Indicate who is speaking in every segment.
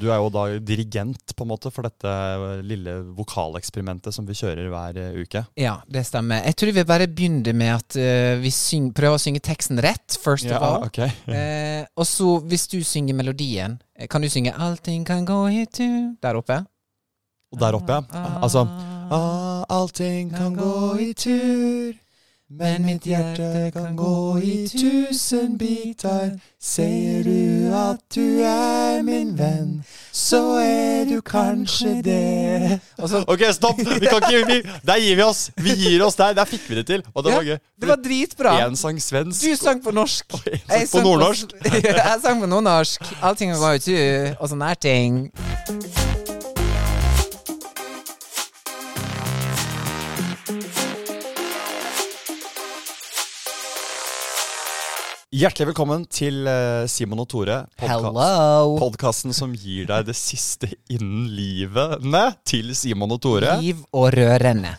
Speaker 1: Du er jo da dirigent på en måte for dette lille vokaleksperimentet som vi kjører hver eh, uke.
Speaker 2: Ja, det stemmer. Jeg tror vi bare begynner med at eh, vi syng, prøver å synge teksten rett, first of all.
Speaker 1: ok.
Speaker 2: Eh, og så, hvis du synger melodien, eh, kan du synge 'Allting kan gå hit to' der oppe? Ah.
Speaker 1: Og der oppe, ja. Altså ah, Allting kan gå i tur, men mitt hjerte kan gå i tusen biter. Ser du at du er min venn, så er du kanskje det. Altså, ok, stopp! Vi kan ikke, vi, der gir vi oss. Vi gir oss der. Der fikk vi det til. Og det
Speaker 2: Ja,
Speaker 1: var gøy.
Speaker 2: det var dritbra!
Speaker 1: Én sang svensk.
Speaker 2: Du sang på norsk.
Speaker 1: jeg sang
Speaker 2: Jeg
Speaker 1: på nordnorsk.
Speaker 2: jeg sang på nordnorsk. Allting var jo tu, og sånne her ting.
Speaker 1: Hjertelig velkommen til eh, Simon og Tore.
Speaker 2: Hello!
Speaker 1: Podkasten som gir deg det siste innen livet med til Simon og Tore.
Speaker 2: Liv og rørende.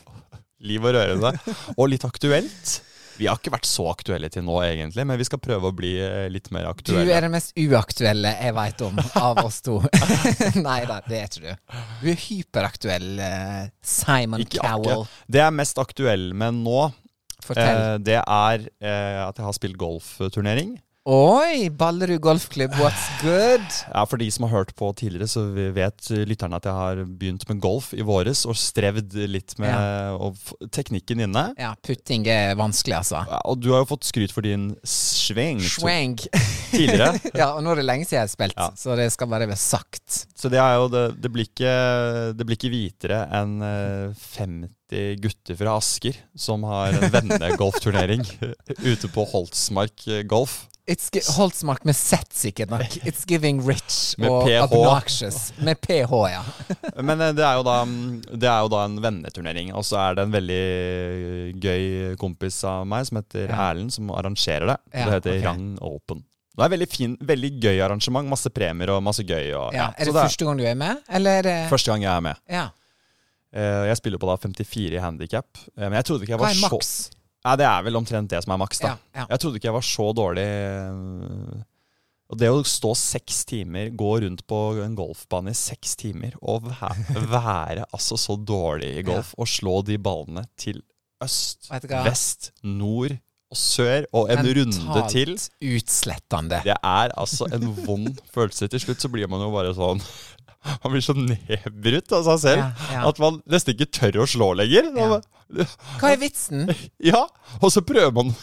Speaker 1: Liv og rørende. Og litt aktuelt. Vi har ikke vært så aktuelle til nå, egentlig, men vi skal prøve å bli eh, litt mer
Speaker 2: Du
Speaker 1: aktuelle.
Speaker 2: er den mest uaktuelle jeg veit om av oss to. Nei da, det er ikke du. Du er hyperaktuell, eh, Simon
Speaker 1: Ikke
Speaker 2: Cowell.
Speaker 1: akkurat. Det jeg er mest aktuell med nå,
Speaker 2: Fortell.
Speaker 1: eh, det er eh, at jeg har spilt golfturnering.
Speaker 2: Oi, Ballerud golfklubb, what's good?
Speaker 1: Ja, For de som har hørt på tidligere, så vi vet eh, lytterne at jeg har begynt med golf i våres og strevd litt med å f- teknikken inne.
Speaker 2: Ja, putting er vanskelig, altså.
Speaker 1: Ja, Og du har jo fått skryt for din sving
Speaker 2: Schwang.
Speaker 1: tidligere.
Speaker 2: ja, og nå er det lenge siden jeg har spilt,
Speaker 1: Ja.
Speaker 2: så det skal bare være sagt.
Speaker 1: Så det er jo det, det, blir ikke, det blir ikke hvitere enn eh, 50 gutter fra Asker som har en vennegolfturnering ute på Holtsmark eh, Golf.
Speaker 2: It's gi- Holtsmark med Z, sikkert nok. It's giving rich
Speaker 1: Med
Speaker 2: og
Speaker 1: PH.
Speaker 2: obnoxious. Med PH, ja.
Speaker 1: Men eh, det er jo da, mm, det er jo da en venneturnering. Og så er det en veldig gøy kompis av meg som heter
Speaker 2: Ja.
Speaker 1: Erlend, som arrangerer det.
Speaker 2: Ja,
Speaker 1: det heter
Speaker 2: ok.
Speaker 1: Rang Open. Det er veldig, fin, veldig gøy arrangement. Masse premier og masse gøy. Og,
Speaker 2: ja. Er
Speaker 1: Så
Speaker 2: det første gang du er med, eller? er det-
Speaker 1: første gang jeg er med.
Speaker 2: Ja.
Speaker 1: Eh, Jeg spiller på da 54 i handikap. Men jeg trodde ikke jeg
Speaker 2: Hva
Speaker 1: var
Speaker 2: er
Speaker 1: så
Speaker 2: maks?
Speaker 1: Nei, det er vel omtrent det som er maks, da.
Speaker 2: Ja, ja.
Speaker 1: Jeg trodde ikke jeg var så dårlig. øh, Og det å stå seks timer, gå rundt på en golfbane i seks timer og væ- være altså så dårlig i golf og slå de ballene til øst,
Speaker 2: Vet du hva?
Speaker 1: vest, nord og sør og en runde
Speaker 2: Mentalt
Speaker 1: til.
Speaker 2: utslettende.
Speaker 1: Det er altså en vond følelse. Til slutt så blir man jo bare sånn Man blir så nedbrutt av seg selv
Speaker 2: Ja, ja.
Speaker 1: at man nesten ikke tør å slå lenger.
Speaker 2: Ja.
Speaker 1: Man bare-
Speaker 2: Hva er vitsen?
Speaker 1: ja, og så prøver man,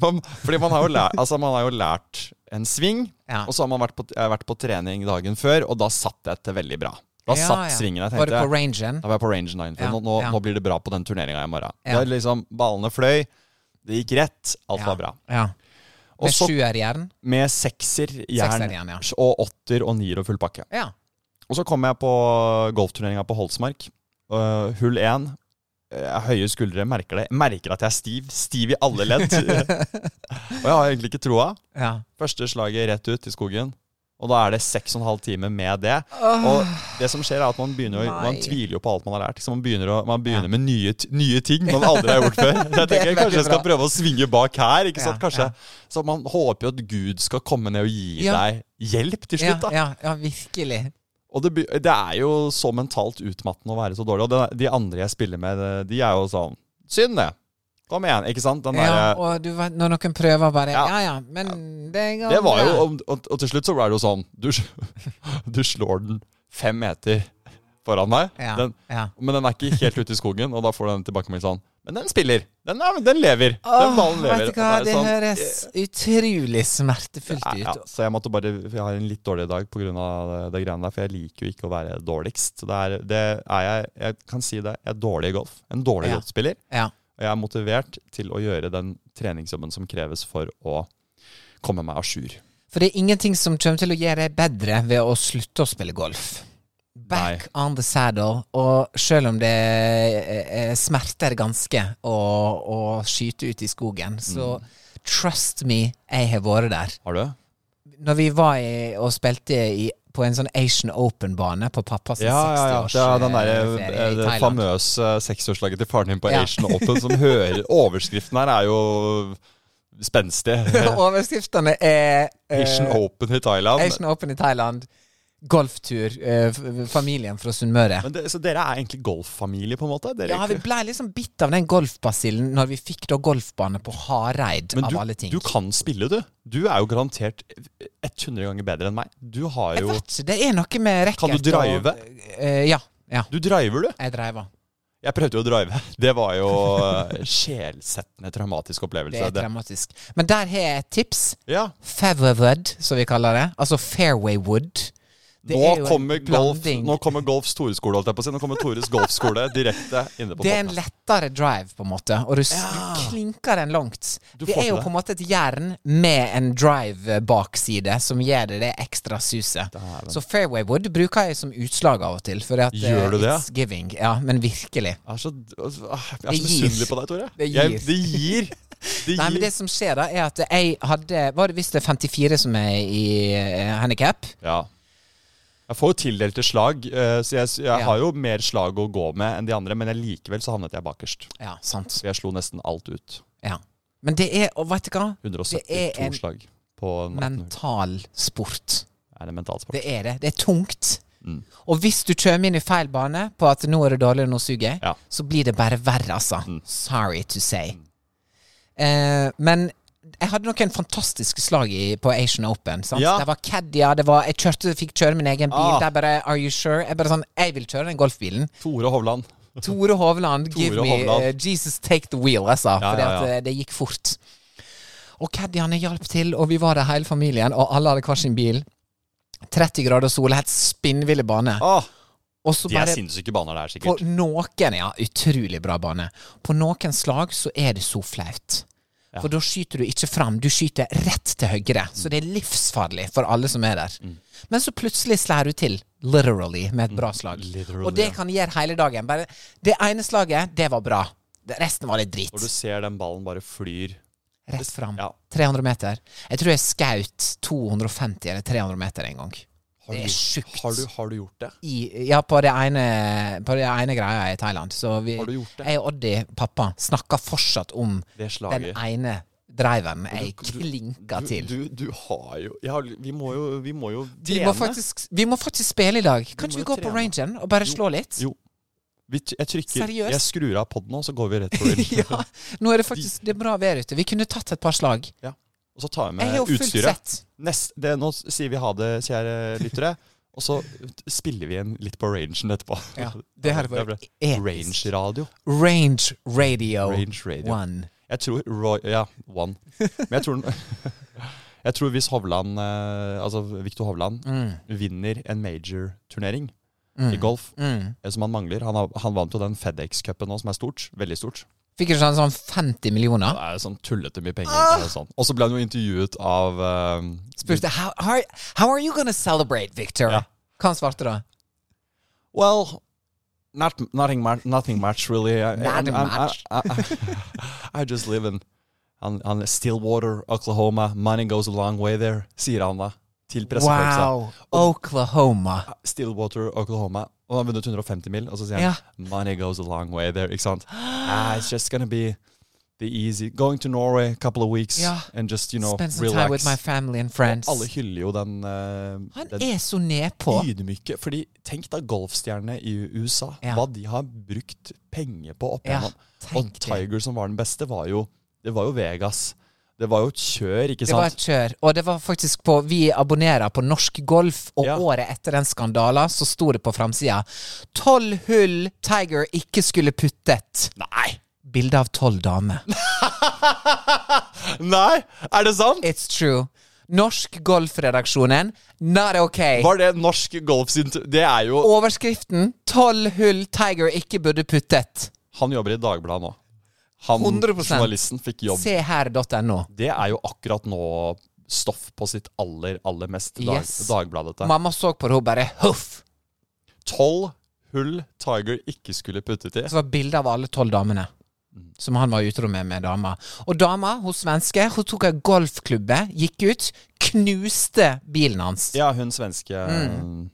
Speaker 1: man Fordi man har jo lært, altså man har jo lært en sving,
Speaker 2: Ja.
Speaker 1: og så har man vært på, jeg har vært på trening dagen før, og da satt jeg til veldig bra. Da
Speaker 2: Ja,
Speaker 1: satt
Speaker 2: ja.
Speaker 1: svingen jeg
Speaker 2: Var det
Speaker 1: tenkte
Speaker 2: på rangen?
Speaker 1: Da var jeg på range 9, for
Speaker 2: Ja,
Speaker 1: nå, nå,
Speaker 2: ja.
Speaker 1: nå blir det bra på den turneringa i morgen.
Speaker 2: Ja.
Speaker 1: Det er liksom, Ballene fløy, det gikk rett, alt
Speaker 2: Ja.
Speaker 1: var bra.
Speaker 2: Ja.
Speaker 1: Og
Speaker 2: Med
Speaker 1: så
Speaker 2: sjuerjern?
Speaker 1: med sekser, jern,
Speaker 2: Sekserjern, ja.
Speaker 1: og åtter og nier og full pakke.
Speaker 2: Ja.
Speaker 1: Og så kom jeg på golfturneringa på Holsmark. Øh, hull én. Jeg har høye skuldre, merker det. Jeg Merker at jeg er stiv. Stiv i alle ledd. og jeg har egentlig ikke troa.
Speaker 2: ja.
Speaker 1: Første slaget rett ut i skogen. Og da er det seks og en halv time med det. Og det som skjer, er at man begynner å,
Speaker 2: Ah. Nei.
Speaker 1: Man tviler jo på alt man har lært. Så man begynner, å, man begynner med nye, t- nye ting man aldri har gjort før. Så jeg
Speaker 2: Det er
Speaker 1: tenker kanskje
Speaker 2: veldig
Speaker 1: jeg skal
Speaker 2: bra.
Speaker 1: prøve å svinge bak her. Ikke
Speaker 2: Ja,
Speaker 1: sant? Kanskje. Så man håper jo at Gud skal komme ned og gi
Speaker 2: Ja.
Speaker 1: deg hjelp til
Speaker 2: Ja,
Speaker 1: slutt. da
Speaker 2: ja, ja, virkelig.
Speaker 1: og det, be- det er jo så mentalt utmattende å være så dårlig. Og det, de andre jeg spiller med, det- de er jo sånn Synd, det! Kom igjen, ikke sant? Den eh,
Speaker 2: Ja,
Speaker 1: derre-
Speaker 2: og du, vet, når noen prøver bare Ja
Speaker 1: Ja.
Speaker 2: ja, men det går
Speaker 1: det var jo
Speaker 2: bra.
Speaker 1: og, og, og til slutt så ble det jo sånn Du, du slår den fem meter foran meg,
Speaker 2: ja,
Speaker 1: den,
Speaker 2: ja.
Speaker 1: men den er ikke helt ute i skogen, og da får du den tilbakemelding sånn Men den spiller! Den, er, den lever! den ballen
Speaker 2: Åh,
Speaker 1: lever.
Speaker 2: Vet du hva,
Speaker 1: Og da er
Speaker 2: det
Speaker 1: sånn,
Speaker 2: høres utrolig smertefullt
Speaker 1: Nei,
Speaker 2: ut.
Speaker 1: ja, så jeg måtte bare for Jeg har en litt dårlig dag pga. det, det greiene der, for jeg liker jo ikke å være dårligst. Så det er, det er jeg Jeg kan si det, jeg er dårlig i golf. En dårlig
Speaker 2: Ja.
Speaker 1: golfspiller.
Speaker 2: Ja.
Speaker 1: Og jeg er motivert til å gjøre den treningsjobben som kreves for å komme meg à jour.
Speaker 2: For det er ingenting som kommer til å gjøre deg bedre ved å slutte å spille golf. Back on the saddle, og selv om det eh, eh, smerter ganske å, å
Speaker 1: Mm.
Speaker 2: skyte ut i skogen, så trust me, jeg har vært der.
Speaker 1: Har du?
Speaker 2: når vi var i, og spilte i, på en sånn Asian Open-bane på pappas
Speaker 1: Ja, ja, ja. Det er den
Speaker 2: 60-årsferie
Speaker 1: der,
Speaker 2: eh,
Speaker 1: eh,
Speaker 2: i
Speaker 1: det
Speaker 2: Thailand.
Speaker 1: famøse seksårslaget til faren din på
Speaker 2: Ja.
Speaker 1: Asian Open som hører Overskriften her er jo spenstig.
Speaker 2: Overskriftene er eh,
Speaker 1: Asian Open i Thailand.
Speaker 2: Asian Open i Thailand, golftur, eh, f- familien fra Sunnmøre.
Speaker 1: Men det, så dere er egentlig golffamilie, på en måte? Dere,
Speaker 2: Ja, vi ble liksom bitt av den golfbasillen når vi fikk da golfbane på Hareid,
Speaker 1: men
Speaker 2: av
Speaker 1: du,
Speaker 2: alle ting.
Speaker 1: du kan spille, du. Du er jo garantert 100 ganger bedre enn meg. Du har
Speaker 2: Jeg
Speaker 1: jo
Speaker 2: vet ikke, det er noe med racket
Speaker 1: Kan du drive?
Speaker 2: Og, eh, ja. ja.
Speaker 1: Du driver, du.
Speaker 2: Jeg driver.
Speaker 1: Jeg prøvde jo å drive. Det var jo eh, sjelsettende traumatisk
Speaker 2: Det
Speaker 1: opplevelse.
Speaker 2: er dramatisk. Men der har jeg et tips.
Speaker 1: ja.
Speaker 2: Fairwood, som vi kaller det. Altså fairway wood. Det er
Speaker 1: Nå
Speaker 2: jo en
Speaker 1: kommer, golf,
Speaker 2: blanding.
Speaker 1: nå kommer Golfs Toreskole, holdt jeg på å si. Nå kommer Tores golfskole direkte inne på
Speaker 2: Det er en
Speaker 1: podcasten.
Speaker 2: lettere drive, på en måte, og du, s- du klinker den langt.
Speaker 1: Du
Speaker 2: det
Speaker 1: får
Speaker 2: er
Speaker 1: til
Speaker 2: jo på
Speaker 1: det.
Speaker 2: en måte et jern med en drive-bakside som gir det det ekstra suset. Så fairway wood bruker jeg som utslag av og til, for at eh,
Speaker 1: Gjør du det?
Speaker 2: it's giving. Ja, men virkelig.
Speaker 1: Jeg er så, jeg er så
Speaker 2: Det gir.
Speaker 1: misunnelig på deg, Tore.
Speaker 2: Det
Speaker 1: Jeg,
Speaker 2: gir.
Speaker 1: det gir. Det
Speaker 2: Nei, men
Speaker 1: gir.
Speaker 2: det som skjer da, er at jeg hadde Var det visst det er 54 som er i eh, handicap?
Speaker 1: Ja. Jeg får jo tildelte slag, eh, så jeg, jeg
Speaker 2: Ja.
Speaker 1: har jo mer slag å gå med enn de andre, men jeg likevel så havnet jeg bakerst.
Speaker 2: Ja, sant.
Speaker 1: Så jeg slo nesten alt ut.
Speaker 2: Ja. Men det er, og vet du hva? Det er
Speaker 1: 172
Speaker 2: en
Speaker 1: slag på en 18 hull.
Speaker 2: Mental sport.
Speaker 1: Er det mentalsport?
Speaker 2: Det er det. Det er tungt.
Speaker 1: Mm.
Speaker 2: Og hvis du kommer inn i feil bane på at nå er det dårlig, nå suger jeg,
Speaker 1: Ja. Mm.
Speaker 2: så blir det bare verre, altså. Sorry to say. Eh, men jeg hadde noen fantastiske slag i, på Asian Open. Sant?
Speaker 1: Ja.
Speaker 2: Det var Caddia, det var Jeg kjørte, fikk kjøre min egen bil.
Speaker 1: Ah.
Speaker 2: Der bare Are you sure? Jeg bare sånn Jeg vil kjøre den golfbilen.
Speaker 1: Tore Hovland.
Speaker 2: Tore Hovland,
Speaker 1: Tore
Speaker 2: give me
Speaker 1: Hovland.
Speaker 2: eh, Jesus take the wheel, altså.
Speaker 1: Ja,
Speaker 2: fordi
Speaker 1: ja, ja.
Speaker 2: at eh, det gikk fort. Og Caddiane hjalp til, og vi var der hele familien, og alle hadde hver sin bil. 30 grader sol, helt spinnville bane.
Speaker 1: Åh,
Speaker 2: Og
Speaker 1: Ah,
Speaker 2: så
Speaker 1: de er
Speaker 2: bare
Speaker 1: sinnssyke baner der,
Speaker 2: På
Speaker 1: sikkert.
Speaker 2: noen, ja, utrolig bra bane. På noen slag så er det så flaut. For da skyter du ikke fram, du skyter rett til høyre. Så det er livsfarlig for alle som er der.
Speaker 1: Mm.
Speaker 2: Men så plutselig slår du til, literally, med et bra slag.
Speaker 1: literally,
Speaker 2: Og det
Speaker 1: ja.
Speaker 2: kan gjøre hele dagen. Bare det ene slaget, det var bra. Det- Resten var litt
Speaker 1: Når du
Speaker 2: drit.
Speaker 1: ser den ballen bare flyr
Speaker 2: Rett fram.
Speaker 1: Ja.
Speaker 2: 300 meter. Jeg tror jeg skaut 250 eller 300 meter en gang.
Speaker 1: Har
Speaker 2: Det
Speaker 1: du
Speaker 2: er
Speaker 1: gjort-
Speaker 2: sjukt.
Speaker 1: Har, du- har du gjort det?
Speaker 2: i, ja, på det ene, på det ene greia i Thailand. Så vi,
Speaker 1: Har du gjort det?
Speaker 2: jeg og Oddi, pappa, snakker fortsatt om
Speaker 1: Det
Speaker 2: den
Speaker 1: slaget.
Speaker 2: ene driven jeg
Speaker 1: du- du-
Speaker 2: klinka
Speaker 1: du,
Speaker 2: til.
Speaker 1: Du, du har jo, jeg har, vi, må jo vi må jo
Speaker 2: vi, må faktisk, vi må faktisk spille i dag. Kan
Speaker 1: må
Speaker 2: ikke vi
Speaker 1: jo
Speaker 2: gå på
Speaker 1: trene.
Speaker 2: rangen og bare slå litt?
Speaker 1: Jo. Vi, t- jeg trykker
Speaker 2: Seriøst?
Speaker 1: Jeg skrur av poden nå, så går vi rett på det.
Speaker 2: ja, nå er det faktisk det er bra vær ute. Vi kunne tatt et par slag.
Speaker 1: Ja. Og så tar vi
Speaker 2: Jeg har
Speaker 1: med
Speaker 2: jo fullt
Speaker 1: utstyret.
Speaker 2: sett.
Speaker 1: Nest, det, nå sier vi ha det, kjære lyttere. Og så spiller vi igjen litt på rangen etterpå.
Speaker 2: Ja, det her var
Speaker 1: ble
Speaker 2: episk.
Speaker 1: Range-radio.
Speaker 2: Range Radio,
Speaker 1: Range Radio.
Speaker 2: One.
Speaker 1: Jeg tror Roy, Ja, one. Men jeg tror, jeg tror hvis Hovland, eh, altså Viktor Hovland,
Speaker 2: Mm,
Speaker 1: vinner en major-turnering i golf,
Speaker 2: mm.
Speaker 1: eh, som han mangler Han, har, han vant jo den FedEx-cupen nå, som er stort. Veldig stort.
Speaker 2: Fikk ikke sånn, sånn 50 millioner?
Speaker 1: Det er sånn tullete mye penger. Og sånn. Og så ble han jo intervjuet av eh,
Speaker 2: Spurte how, how, how are you gonna celebrate, Victor?
Speaker 1: Ja.
Speaker 2: Hva han svarte da?
Speaker 1: Well, not nothing much. Nothing much really. I,
Speaker 2: Nothing
Speaker 1: I'm- I'm-
Speaker 2: much.
Speaker 1: I, I- I just live in on, on Stillwater, Oklahoma. Money goes a long way there, sier han da til pressekonferansen.
Speaker 2: Wow, Oklahoma.
Speaker 1: Ah, Stillwater, Oklahoma. Og han har vunnet 150 mil, og så sier han
Speaker 2: Ja.
Speaker 1: Money goes a long way there, ikke sant? Ah, it's just gonna be the easy Going to Norway a couple of weeks
Speaker 2: Ja.
Speaker 1: and just, you know,
Speaker 2: Spend some time with my
Speaker 1: relax.
Speaker 2: family and friends.
Speaker 1: Alle hyller jo den, eh,
Speaker 2: Han
Speaker 1: den
Speaker 2: er så nedpå.
Speaker 1: ydmyke. Fordi tenk da golfstjernene i USA,
Speaker 2: Ja.
Speaker 1: hva de har brukt penger på opp
Speaker 2: Ja,
Speaker 1: igjennom.
Speaker 2: tenk
Speaker 1: og
Speaker 2: det.
Speaker 1: Tiger som var den beste, var jo, det var jo Vegas. Det var jo et kjør, ikke
Speaker 2: Det var et
Speaker 1: sant?
Speaker 2: kjør. Og det var faktisk på Vi abonnerer på Norsk Golf, og
Speaker 1: Ja.
Speaker 2: året etter den skandalen så sto det på framsida 'Tolv hull Tiger ikke skulle puttet'.
Speaker 1: Nei!
Speaker 2: Bilde av tolv damer.
Speaker 1: Nei! Er det sant?
Speaker 2: It's true. Norsk Golfredaksjonen, not okay.
Speaker 1: Var det norsk golf sin tu- Det er jo
Speaker 2: Overskriften 'Tolv hull Tiger ikke burde puttet'.
Speaker 1: Han jobber i Dagbladet nå. Han
Speaker 2: 100%.
Speaker 1: journalisten fikk jobb.
Speaker 2: Se her.no.
Speaker 1: Det er jo akkurat nå stoff på sitt aller, aller mest dag,
Speaker 2: Yes.
Speaker 1: Dagbladete.
Speaker 2: Mamma så på det, hun bare 'huff'.
Speaker 1: Tolv hull Tiger ikke skulle puttet i.
Speaker 2: Så var bilde av alle tolv damene.
Speaker 1: Mm.
Speaker 2: Som han var utro med med dama. Og dama, hun svenske, hun tok ei golfklubbe, gikk ut, knuste bilen hans.
Speaker 1: Ja, hun svenske
Speaker 2: Mm.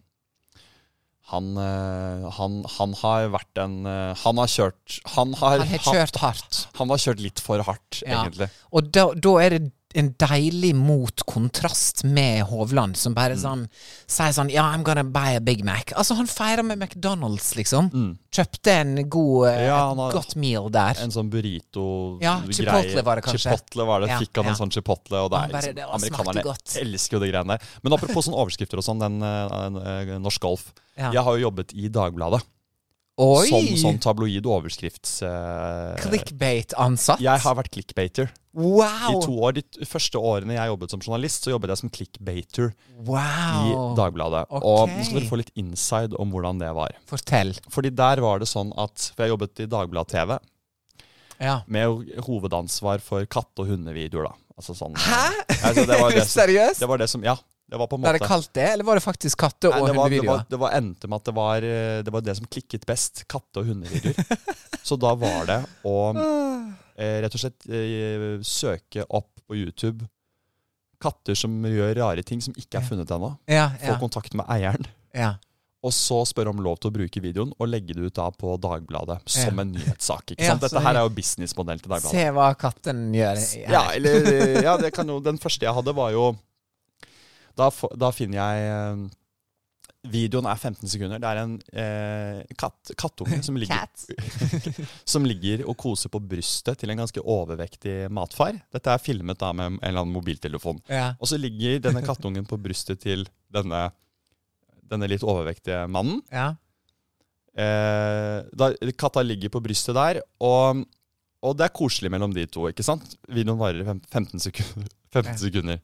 Speaker 1: han, eh, han, han har vært en eh, Han har kjørt Han har,
Speaker 2: Han har
Speaker 1: hatt-
Speaker 2: kjørt hardt.
Speaker 1: han har kjørt litt for hardt,
Speaker 2: Ja.
Speaker 1: egentlig.
Speaker 2: Og da, da er det en deilig mot kontrast med Hovland, som bare
Speaker 1: Mm.
Speaker 2: sånn sier sånn Ja, I'm gonna buy a Big Mac. Altså, han feirer med McDonald's, liksom. Kjøpte en god eh,
Speaker 1: Mm. Ja,
Speaker 2: et
Speaker 1: han har-
Speaker 2: godt meal der.
Speaker 1: En sånn burrito-greie.
Speaker 2: Ja, chipotle var det kanskje.
Speaker 1: Chipotle var det.
Speaker 2: Ja,
Speaker 1: Fikk han
Speaker 2: ja.
Speaker 1: en sånn chipotle, og det
Speaker 2: Han
Speaker 1: er
Speaker 2: bare,
Speaker 1: liksom,
Speaker 2: det var- smakte
Speaker 1: amerikanerne
Speaker 2: godt.
Speaker 1: elsker jo de greiene der. Men apropos sånne overskrifter og sånn, den eh, eh, norsk golf.
Speaker 2: Ja.
Speaker 1: Jeg har jo jobbet i Dagbladet
Speaker 2: Oi!
Speaker 1: som sånn tabloid overskrifts... eh,
Speaker 2: Clickbait-ansatt.
Speaker 1: jeg har vært clickbaiter i
Speaker 2: Wow!
Speaker 1: to år. De t- første årene jeg jobbet som journalist, så jobbet jeg som clickbaiter i
Speaker 2: Wow!
Speaker 1: Dagbladet.
Speaker 2: Ok.
Speaker 1: Og nå skal dere få litt inside om hvordan det var.
Speaker 2: Fortell.
Speaker 1: Fordi der var det sånn at For jeg jobbet i Dagbladet TV
Speaker 2: Ja.
Speaker 1: med ho- hovedansvar for katte- og hundevideoer, da. Altså sånn
Speaker 2: Hæ?
Speaker 1: Nei, så det var det som,
Speaker 2: Seriøst?
Speaker 1: det var det som Ja. Det var på en
Speaker 2: Var
Speaker 1: måte
Speaker 2: det kalt det, eller var det faktisk katte-
Speaker 1: Nei,
Speaker 2: og
Speaker 1: det, var, det,
Speaker 2: hundevideoer?
Speaker 1: var, det var endte med at det var eh, det, var det som klikket best. Katte- og hundevideoer. så da var det å eh, rett og slett eh, søke opp på YouTube katter som gjør rare ting som ikke er funnet ennå.
Speaker 2: Ja,
Speaker 1: Få
Speaker 2: ja,
Speaker 1: kontakt med eieren.
Speaker 2: ja.
Speaker 1: Og så spørre om lov til å bruke videoen og legge det ut da på Dagbladet som
Speaker 2: Ja.
Speaker 1: en nyhetssak. ikke
Speaker 2: Ja,
Speaker 1: sant? Dette
Speaker 2: så-
Speaker 1: her er jo businessmodellen til Dagbladet.
Speaker 2: Se hva katten gjør.
Speaker 1: Ja, eller eh, ja, det kan jo, Den første jeg hadde, var jo Da, få- da finner jeg eh, Videoen er 15 sekunder. Det er en eh, katt, kattunge som ligger,
Speaker 2: Cats.
Speaker 1: som ligger og koser på brystet til en ganske overvektig matfar. Dette er filmet da med en eller annen mobiltelefon.
Speaker 2: Ja.
Speaker 1: Og så ligger denne kattungen på brystet til denne, denne litt overvektige mannen.
Speaker 2: Ja.
Speaker 1: Eh, da, katta ligger på brystet der, og, og det er koselig mellom de to. ikke sant? Videoen varer i fem- 15 sekunder. 15 sekunder.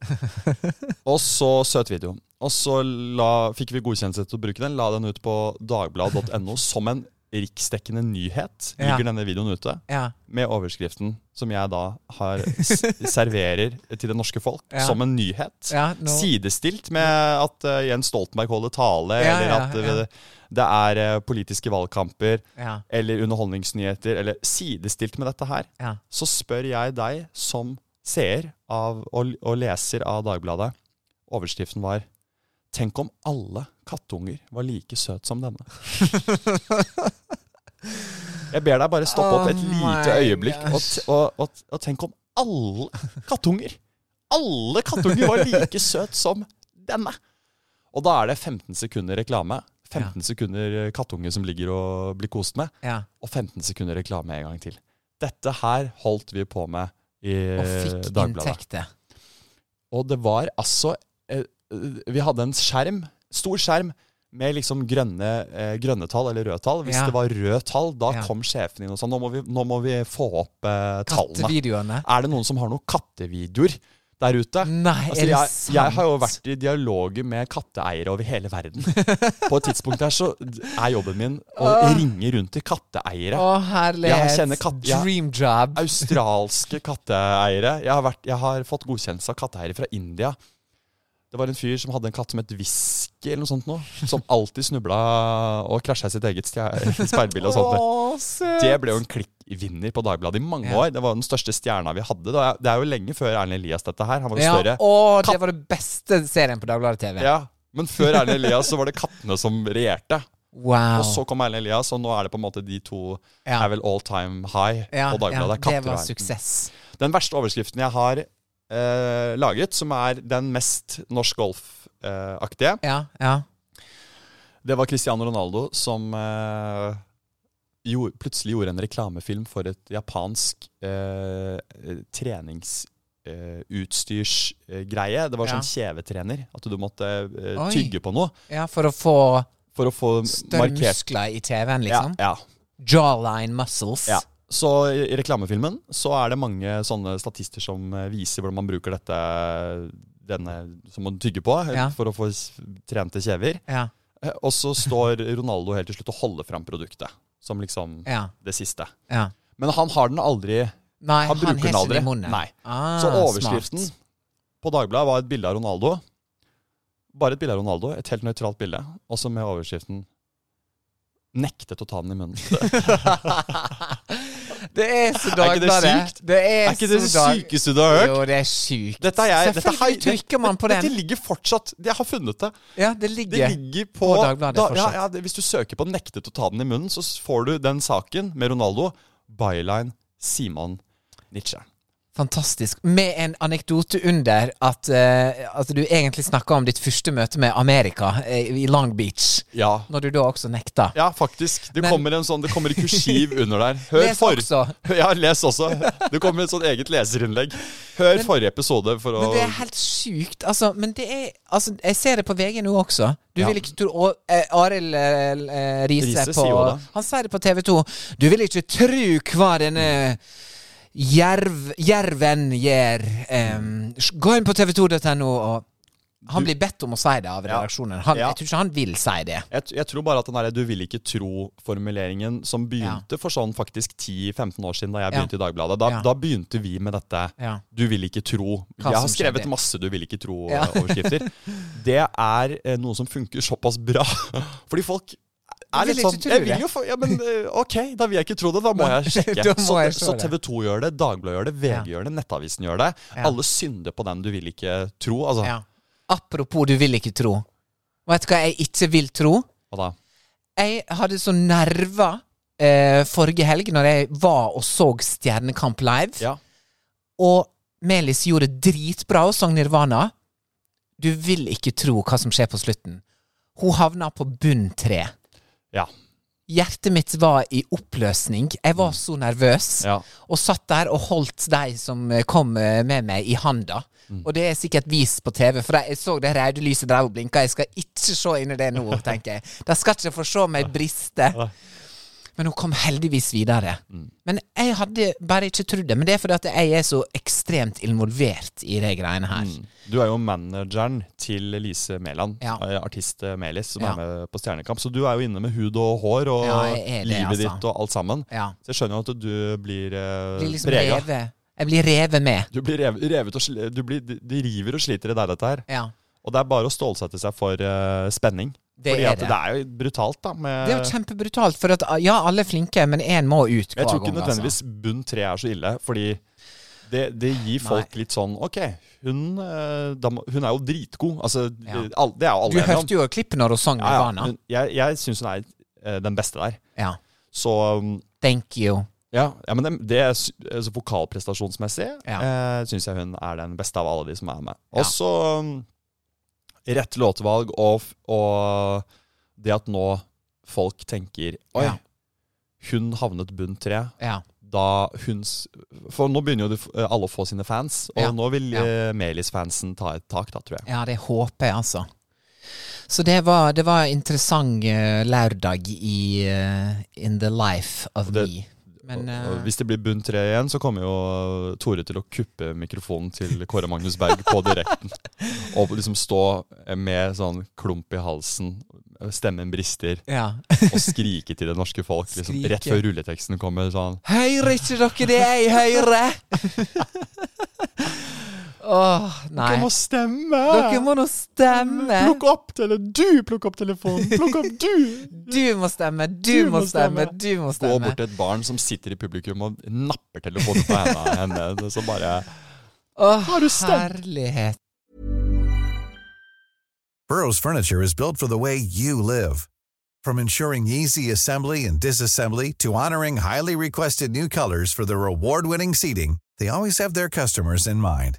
Speaker 1: Og så søt video. Og så la, fikk vi godkjennelse til å bruke den. La den ut på dagbladet.no som en riksdekkende nyhet.
Speaker 2: Ja.
Speaker 1: Ligger denne videoen ute
Speaker 2: Ja.
Speaker 1: med overskriften som jeg da har s serverer til det norske folk
Speaker 2: Ja.
Speaker 1: som en nyhet.
Speaker 2: Ja, nå-
Speaker 1: Sidestilt med at eh, Jens Stoltenberg holder tale,
Speaker 2: Ja,
Speaker 1: eller
Speaker 2: ja,
Speaker 1: at
Speaker 2: ja.
Speaker 1: eh, det er eh, politiske valgkamper,
Speaker 2: Ja.
Speaker 1: eller underholdningsnyheter, eller sidestilt med dette her.
Speaker 2: Ja.
Speaker 1: Så spør jeg deg som seer av, og, og leser av Dagbladet, overskriften var Tenk om alle kattunger var like søt som denne. Jeg ber deg bare stoppe opp et
Speaker 2: Oh
Speaker 1: lite
Speaker 2: my
Speaker 1: øyeblikk og, t- og, og, og tenk om alle kattunger Alle kattunger var like søt som denne! Og da er det 15 sekunder reklame. 15 sekunder kattunge som ligger og blir kost med,
Speaker 2: ja.
Speaker 1: og 15 sekunder reklame en gang til. Dette her holdt vi på med i
Speaker 2: Og fikk
Speaker 1: Eh, Dagbladet.
Speaker 2: inntekter.
Speaker 1: Og det var altså eh, eh, Vi hadde en skjerm, stor skjerm, med liksom grønne, eh, grønne tall eller røde tall. Hvis
Speaker 2: Ja.
Speaker 1: det var røde tall, da
Speaker 2: Ja.
Speaker 1: kom sjefen inn og sa nå må vi, nå må vi få opp eh, tallene.
Speaker 2: Kattevideoene.
Speaker 1: Er det noen som har noen kattevideoer der ute?
Speaker 2: Nei,
Speaker 1: Altså,
Speaker 2: Mm, er det
Speaker 1: jeg,
Speaker 2: sant?
Speaker 1: jeg har jo vært i dialoger med katteeiere over hele verden. På et tidspunkt der så er jobben min å
Speaker 2: Ah.
Speaker 1: ringe rundt til katteeiere.
Speaker 2: Å, herlighet.
Speaker 1: Jeg kjenner katt- jeg-
Speaker 2: Dream job.
Speaker 1: Australske katteeiere. Jeg har, vært, jeg har fått godkjennelse av katteeiere fra India. Det var en fyr som hadde en katt som het Whisky eller noe sånt noe. Som alltid snubla og krasja i sitt eget stje- speilbilde og sånt. noe.
Speaker 2: Å, søt.
Speaker 1: Det ble jo en klikkvinner på Dagbladet i mange
Speaker 2: Ja.
Speaker 1: år. Det var jo den største stjerna vi hadde. da. Det er jo lenge før Erlend Elias, dette her. Han var jo
Speaker 2: ja.
Speaker 1: større.
Speaker 2: Å, det var den beste serien på Dagbladet TV.
Speaker 1: Ja, Men før Erlend Elias så var det kattene som regjerte.
Speaker 2: Wow.
Speaker 1: Og så kom Erlend Elias, og nå er det på en måte de to
Speaker 2: Ja.
Speaker 1: er vel all time high
Speaker 2: ja,
Speaker 1: på Dagbladet.
Speaker 2: ja,
Speaker 1: Katter
Speaker 2: det
Speaker 1: og
Speaker 2: var
Speaker 1: Erlend.
Speaker 2: suksess.
Speaker 1: Den verste overskriften jeg har eh, laget, som er den mest norsk golf-aktige,
Speaker 2: Ja, ja.
Speaker 1: det var Cristiano Ronaldo som eh, gjorde- plutselig gjorde en reklamefilm for et japansk eh, treningsutstyrsgreie. Det var
Speaker 2: Ja.
Speaker 1: sånn kjevetrener, at du måtte eh,
Speaker 2: Oi.
Speaker 1: tygge på noe
Speaker 2: ja, for å få
Speaker 1: for å få
Speaker 2: større
Speaker 1: markert
Speaker 2: muskler i TV-en, liksom.
Speaker 1: Ja, ja.
Speaker 2: Jawline muscles.
Speaker 1: Ja. Så i i reklamefilmen så er det mange sånne statister som eh, viser hvordan man bruker dette denne som man tygger på eh,
Speaker 2: Ja.
Speaker 1: for å få s- trente kjever.
Speaker 2: Ja,
Speaker 1: Eh, Og så står Ronaldo helt til slutt og holder fram produktet som liksom
Speaker 2: ja,
Speaker 1: det siste.
Speaker 2: ja.
Speaker 1: Men han har den aldri.
Speaker 2: Nei,
Speaker 1: Han
Speaker 2: han,
Speaker 1: bruker
Speaker 2: har
Speaker 1: den
Speaker 2: ikke
Speaker 1: aldri.
Speaker 2: det i munnen.
Speaker 1: Nei.
Speaker 2: Ah,
Speaker 1: Så overskriften
Speaker 2: smart.
Speaker 1: på Dagbladet var et bilde av Ronaldo. Bare et bilde av Ronaldo, et helt nøytralt bilde. Også med overskriften 'Nektet å ta den i munnen'.
Speaker 2: Det er så
Speaker 1: Er ikke det
Speaker 2: Dagbladet.
Speaker 1: sykt?
Speaker 2: Det er,
Speaker 1: Er ikke det det
Speaker 2: så dag-
Speaker 1: sykeste du har hørt?
Speaker 2: Jo, det er sykt.
Speaker 1: Dette er jeg, dette,
Speaker 2: Selvfølgelig
Speaker 1: her-
Speaker 2: trykker man på
Speaker 1: Dette
Speaker 2: den.
Speaker 1: ligger fortsatt Jeg har funnet det.
Speaker 2: Ja, det
Speaker 1: Det
Speaker 2: ligger.
Speaker 1: ligger på,
Speaker 2: på Dagbladet
Speaker 1: ja,
Speaker 2: fortsatt.
Speaker 1: ja, det, Hvis du søker på 'nektet å ta den i munnen', så s- får du den saken med Ronaldo. Byline Simon Nietzsche.
Speaker 2: Fantastisk. Med en anekdote under at, eh, at du egentlig snakka om ditt første møte med Amerika eh, i Long Beach.
Speaker 1: Ja.
Speaker 2: Når du da også nekta.
Speaker 1: ja, faktisk. Det
Speaker 2: Men-
Speaker 1: kommer en sånn Det kommer i kursiv under der. Hør
Speaker 2: Les
Speaker 1: for.
Speaker 2: også.
Speaker 1: Ja, les også. Det kommer et sånt eget leserinnlegg. Hør forrige episode for å
Speaker 2: Men det er helt sjukt. Altså, men det er altså, Jeg ser det på VG nå også. Du
Speaker 1: Ja.
Speaker 2: vil ikke tro og, eh, Arild eh, eh, Riise
Speaker 1: Riise
Speaker 2: på
Speaker 1: sier jo det.
Speaker 2: Han sier det på TV 2. Du vil ikke tru hva denne jerv, jerven gjør. Em, s- gå inn på tv2.no og Han blir bedt om å si det av
Speaker 1: Ja.
Speaker 2: redaksjonen. Han,
Speaker 1: Ja.
Speaker 2: Jeg tror ikke han vil si det.
Speaker 1: jeg, t- jeg tror bare at den der 'du vil ikke tro'-formuleringen som begynte for sånn faktisk 10-15 år siden, da jeg
Speaker 2: Ja.
Speaker 1: begynte i Dagbladet, da,
Speaker 2: Ja.
Speaker 1: da begynte vi med dette.
Speaker 2: Ja.
Speaker 1: 'Du vil ikke tro'.
Speaker 2: Hva
Speaker 1: jeg har
Speaker 2: som
Speaker 1: skrevet
Speaker 2: skjedde.
Speaker 1: masse 'du vil ikke
Speaker 2: Ja.
Speaker 1: tro'-overskrifter. det er eh, noe som funker såpass bra. Fordi folk er
Speaker 2: Jeg vil
Speaker 1: litt
Speaker 2: ikke
Speaker 1: sånn
Speaker 2: tro
Speaker 1: Jeg
Speaker 2: det.
Speaker 1: vil jo få Ja, men eh, ok, da vil jeg ikke tro det. Da må
Speaker 2: Nei,
Speaker 1: jeg sjekke.
Speaker 2: da må
Speaker 1: så,
Speaker 2: jeg
Speaker 1: så
Speaker 2: se det.
Speaker 1: TV 2 gjør det, Dagbladet gjør det, VG
Speaker 2: Ja.
Speaker 1: gjør det, Nettavisen gjør det.
Speaker 2: Ja.
Speaker 1: Alle synder på den 'du vil ikke tro'. Altså,
Speaker 2: Ja. Apropos du vil ikke tro. Vet du hva jeg ikke vil tro?
Speaker 1: hva da?
Speaker 2: Jeg hadde så nerver eh, forrige helg når jeg var og så Stjernekamp live.
Speaker 1: Ja.
Speaker 2: Og Melis gjorde det dritbra og sang Nirvana. Du vil ikke tro hva som skjer på slutten. Hun havna på bunn tre.
Speaker 1: Ja.
Speaker 2: Hjertet mitt var i oppløsning. Jeg var så nervøs.
Speaker 1: Mm. ja.
Speaker 2: Og satt der og holdt de som eh, kom eh, med meg, i handa.
Speaker 1: Mm.
Speaker 2: Og det er sikkert vist på TV, for jeg så det røde lyset drev og blinka. Jeg skal ikke se inn i det nå, tenker jeg. De skal ikke få se meg briste.
Speaker 1: Nei. Mm.
Speaker 2: Men hun kom heldigvis videre. Men jeg hadde bare ikke trodd det. Men det er fordi at jeg er så ekstremt involvert i de greiene her.
Speaker 1: Mm. Du er jo manageren til Lise Mæland,
Speaker 2: Ja.
Speaker 1: eh, artist eh, Melis, som
Speaker 2: Ja.
Speaker 1: er med på Stjernekamp. Så du er jo inne med hud og hår og
Speaker 2: Ja, jeg er det,
Speaker 1: livet
Speaker 2: altså.
Speaker 1: ditt og alt sammen.
Speaker 2: Ja.
Speaker 1: Så jeg skjønner jo at du blir, eh,
Speaker 2: Blir liksom
Speaker 1: prega.
Speaker 2: revet. Jeg blir revet med.
Speaker 1: Du blir rev, revet og sli, du blir, de- De river og sliter i deg, dette her.
Speaker 2: Ja.
Speaker 1: Og det er bare å stålsette seg for eh, spenning.
Speaker 2: Det
Speaker 1: Fordi
Speaker 2: er
Speaker 1: at
Speaker 2: det.
Speaker 1: det er jo brutalt, da. Med,
Speaker 2: Det er jo kjempebrutalt, for at ja, alle er flinke, men én må ut hver
Speaker 1: jeg
Speaker 2: gang.
Speaker 1: tror ikke
Speaker 2: altså.
Speaker 1: nødvendigvis bunn tre er så ille, fordi det, det gir folk litt sånn Ok, hun, eh, da må- hun er jo dritgod. Altså,
Speaker 2: Ja.
Speaker 1: all- det er jo alle
Speaker 2: Du
Speaker 1: enige om.
Speaker 2: hørte jo klippet når hun sang
Speaker 1: Ja, ja.
Speaker 2: Nirvana.
Speaker 1: men Jeg, jeg syns hun er eh, den beste der.
Speaker 2: Ja.
Speaker 1: Så um,
Speaker 2: Thank you.
Speaker 1: ja, ja men det, det er sy- altså, vokalprestasjonsmessig
Speaker 2: Ja.
Speaker 1: eh, syns jeg hun er den beste av alle de som er med.
Speaker 2: Ja.
Speaker 1: Og så um, rett låtvalg og, f- og det at nå folk tenker Oi,
Speaker 2: Ja.
Speaker 1: hun havnet bunn tre.
Speaker 2: Ja.
Speaker 1: Da hun s- For nå begynner jo de f- alle å få sine fans, og
Speaker 2: Ja.
Speaker 1: nå vil
Speaker 2: Ja.
Speaker 1: eh, Melis-fansen ta et tak, da, tror jeg.
Speaker 2: ja, det håper jeg, altså. Så det var, det var en interessant eh, lørdag i eh, In the life of
Speaker 1: det-
Speaker 2: me. Men
Speaker 1: Og- og
Speaker 2: eh,
Speaker 1: hvis det blir bunn tre igjen, så kommer jo Tore til å kuppe mikrofonen til Kåre Magnus Berg på direkten. Og liksom stå med sånn klump i halsen, stemmen brister,
Speaker 2: ja.
Speaker 1: og skrike til det norske folk. Liksom,
Speaker 2: Skrike.
Speaker 1: rett før rulleteksten kommer. Sånn.
Speaker 2: Hører ikke dere det jeg hører? Åh, nei.
Speaker 1: Dere må stemme!
Speaker 2: Dere må nå stemme.
Speaker 1: Plukk opp telefonen! Du plukk opp telefonen! Plukk opp du!
Speaker 2: Du må stemme, du må stemme, du må
Speaker 1: Gå
Speaker 2: stemme.
Speaker 1: bort til et barn som sitter i publikum og napper telefonen på henda henne. Så bare
Speaker 2: Åh,
Speaker 1: Har du stemt?
Speaker 2: herlighet.
Speaker 3: Burrow's furniture is built for the way you live. From ensuring easy assembly and disassembly to honoring highly requested new colors for their award-winning seating, they always have their customers in mind.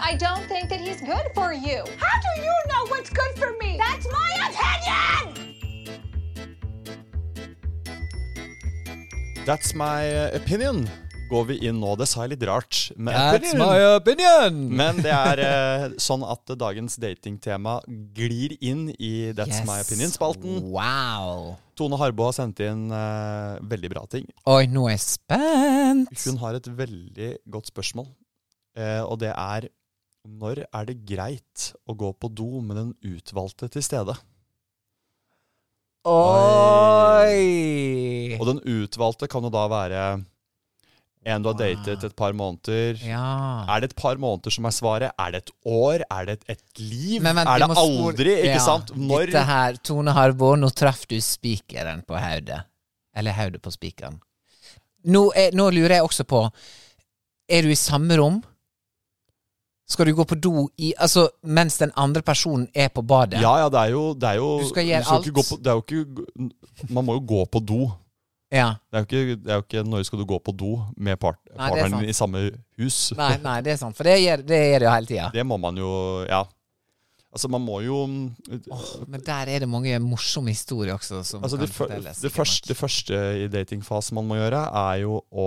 Speaker 4: I don't think that he's good for you. How do you know what's good for me? That's my opinion!
Speaker 1: That's my opinion. Går vi inn nå? Det sa jeg litt rart. Men,
Speaker 2: That's my opinion!
Speaker 1: men det er eh, sånn at dagens datingtema glir inn i That's
Speaker 2: Yes.
Speaker 1: my opinion-spalten.
Speaker 2: Wow.
Speaker 1: Tone Harbo har sendt inn eh, veldig bra ting.
Speaker 2: Oi, nå er jeg spent.
Speaker 1: Hun har et veldig godt spørsmål, eh, og det er når er det greit å gå på do med den utvalgte til stede?
Speaker 2: Oi!
Speaker 1: Og den utvalgte kan jo da være en du har datet et par måneder.
Speaker 2: Ja.
Speaker 1: Er det et par måneder som er svaret? Er det et år? Er det et, et liv?
Speaker 2: Men
Speaker 1: er
Speaker 2: vent, vi
Speaker 1: det
Speaker 2: må spole-
Speaker 1: aldri? Ikke
Speaker 2: Ja,
Speaker 1: sant? Når
Speaker 2: Dette her, Tone Harbo, nå traff du spikeren på hodet. Eller hodet på spikeren. Nå, er- nå lurer jeg også på Er du i samme rom? Skal du gå på do i Altså mens den andre personen er på badet?
Speaker 1: Ja, ja, det er jo Det er jo,
Speaker 2: Du skal
Speaker 1: jo
Speaker 2: gjøre
Speaker 1: ikke
Speaker 2: alt.
Speaker 1: gå på, det er jo ikke Man må jo gå på do.
Speaker 2: Ja.
Speaker 1: Det er jo ikke, det er jo ikke når skal du gå på do med part,
Speaker 2: Nei, det er
Speaker 1: partneren
Speaker 2: sant.
Speaker 1: din i samme hus.
Speaker 2: Nei, nei, det er sant, for det gjør det, gjør det jo hele tida.
Speaker 1: Det må man jo Ja. Altså, man må jo
Speaker 2: Men der er det mange morsomme historier også som
Speaker 1: Altså,
Speaker 2: kan
Speaker 1: det, fø-
Speaker 2: fortelles.
Speaker 1: det,
Speaker 2: sikkert
Speaker 1: første,
Speaker 2: nok.
Speaker 1: det første i datingfasen man må gjøre, er jo å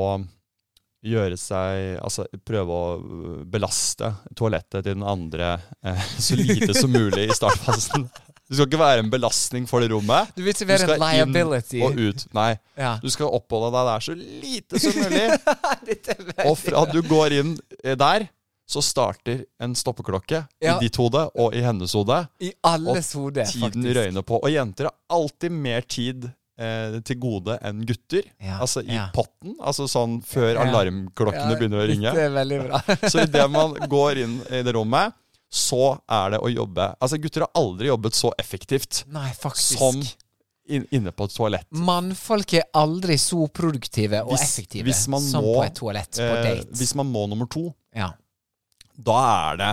Speaker 1: gjøre seg Altså prøve å øh, belaste toalettet til den andre eh, så lite som mulig i startfasen. Du skal ikke være en belastning for det rommet.
Speaker 2: Du vil ikke være en
Speaker 1: skal inn
Speaker 2: liability.
Speaker 1: og ut. Nei.
Speaker 2: Ja.
Speaker 1: Du skal oppholde deg der så lite som mulig.
Speaker 2: Dette er veldig
Speaker 1: Og fra du går inn eh, der, så starter en stoppeklokke
Speaker 2: Ja.
Speaker 1: i ditt hode og i hennes hode.
Speaker 2: I alles hode,
Speaker 1: tiden
Speaker 2: faktisk.
Speaker 1: røyner på. Og jenter har alltid mer tid eh, til gode enn gutter.
Speaker 2: Ja,
Speaker 1: Altså i
Speaker 2: ja.
Speaker 1: potten, altså sånn før
Speaker 2: Ja.
Speaker 1: alarmklokkene
Speaker 2: Ja,
Speaker 1: begynner å ringe.
Speaker 2: Dette er veldig bra.
Speaker 1: Så idet man går inn i det rommet, så er det å jobbe Altså, gutter har aldri jobbet så effektivt
Speaker 2: Nei, faktisk.
Speaker 1: som in inne på et toalett.
Speaker 2: Mannfolk er aldri så produktive og
Speaker 1: Hvis-
Speaker 2: effektive
Speaker 1: hvis man
Speaker 2: som
Speaker 1: må,
Speaker 2: på et toalett på
Speaker 1: Eh,
Speaker 2: date.
Speaker 1: hvis man må nummer to,
Speaker 2: ja.
Speaker 1: da er det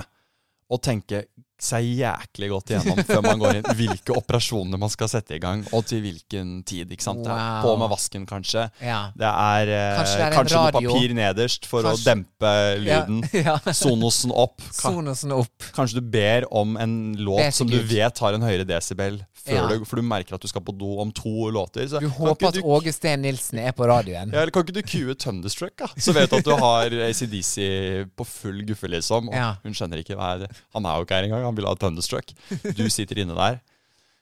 Speaker 1: å tenke seg jæklig godt igjennom før man går inn hvilke operasjoner man skal sette i gang, og til hvilken tid. ikke sant? Det er
Speaker 2: Wow.
Speaker 1: På med vasken, kanskje.
Speaker 2: Ja.
Speaker 1: Det er eh,
Speaker 2: Kanskje det
Speaker 1: kanskje,
Speaker 2: er en
Speaker 1: noe
Speaker 2: radio.
Speaker 1: papir nederst for
Speaker 2: Kanskje-
Speaker 1: å dempe lyden.
Speaker 2: Ja. ja.
Speaker 1: Sonosen opp. Ka
Speaker 2: Sonosen opp.
Speaker 1: kanskje du ber om en låt
Speaker 2: Bedre
Speaker 1: som du
Speaker 2: lyd.
Speaker 1: vet har en høyere desibel, før
Speaker 2: Ja.
Speaker 1: du, for du merker at du skal på do om to låter. Så
Speaker 2: Du
Speaker 1: kan
Speaker 2: håper
Speaker 1: ikke
Speaker 2: at
Speaker 1: du-
Speaker 2: Åge Steen Nilsen er på radioen.
Speaker 1: ja, eller kan ikke du cue Thunderstruck, da? Så vet du at du har ACDC på full guffe, liksom. Og
Speaker 2: Ja.
Speaker 1: Hun skjønner ikke hva er det. Han er jo ikke her engang, han vil ha Thunderstruck. Du sitter inne der.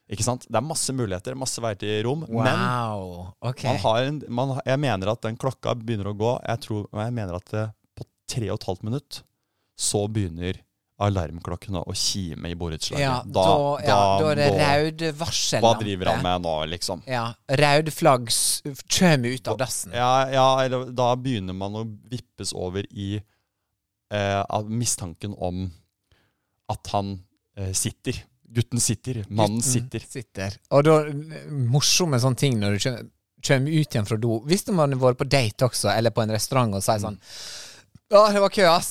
Speaker 1: Ikke sant? Det er masse muligheter, masse veier til rom. Men
Speaker 2: Wow. Ok.
Speaker 1: man har en, man, har- jeg mener at den klokka begynner å gå. Jeg, tror, og jeg mener at eh, på tre og et halvt minutt så begynner alarmklokkene å kime i borettslaget.
Speaker 2: ja, da, ja, da er det røde varsel.
Speaker 1: Hva driver han med nå, liksom?
Speaker 2: Ja. Røde flagg s- kjøm ut av dassen.
Speaker 1: Ja, ja eller da begynner man å vippes over i eh, av mistanken om at han eh, sitter. Gutten sitter. Mannen sitter.
Speaker 2: sitter. Og da eh, morsomme sånne ting når du kjem- kommer ut igjen fra do. Hvis du har vært på date også, eller på en restaurant og sier sånn
Speaker 1: Mm.
Speaker 2: Å, det var kø, ass.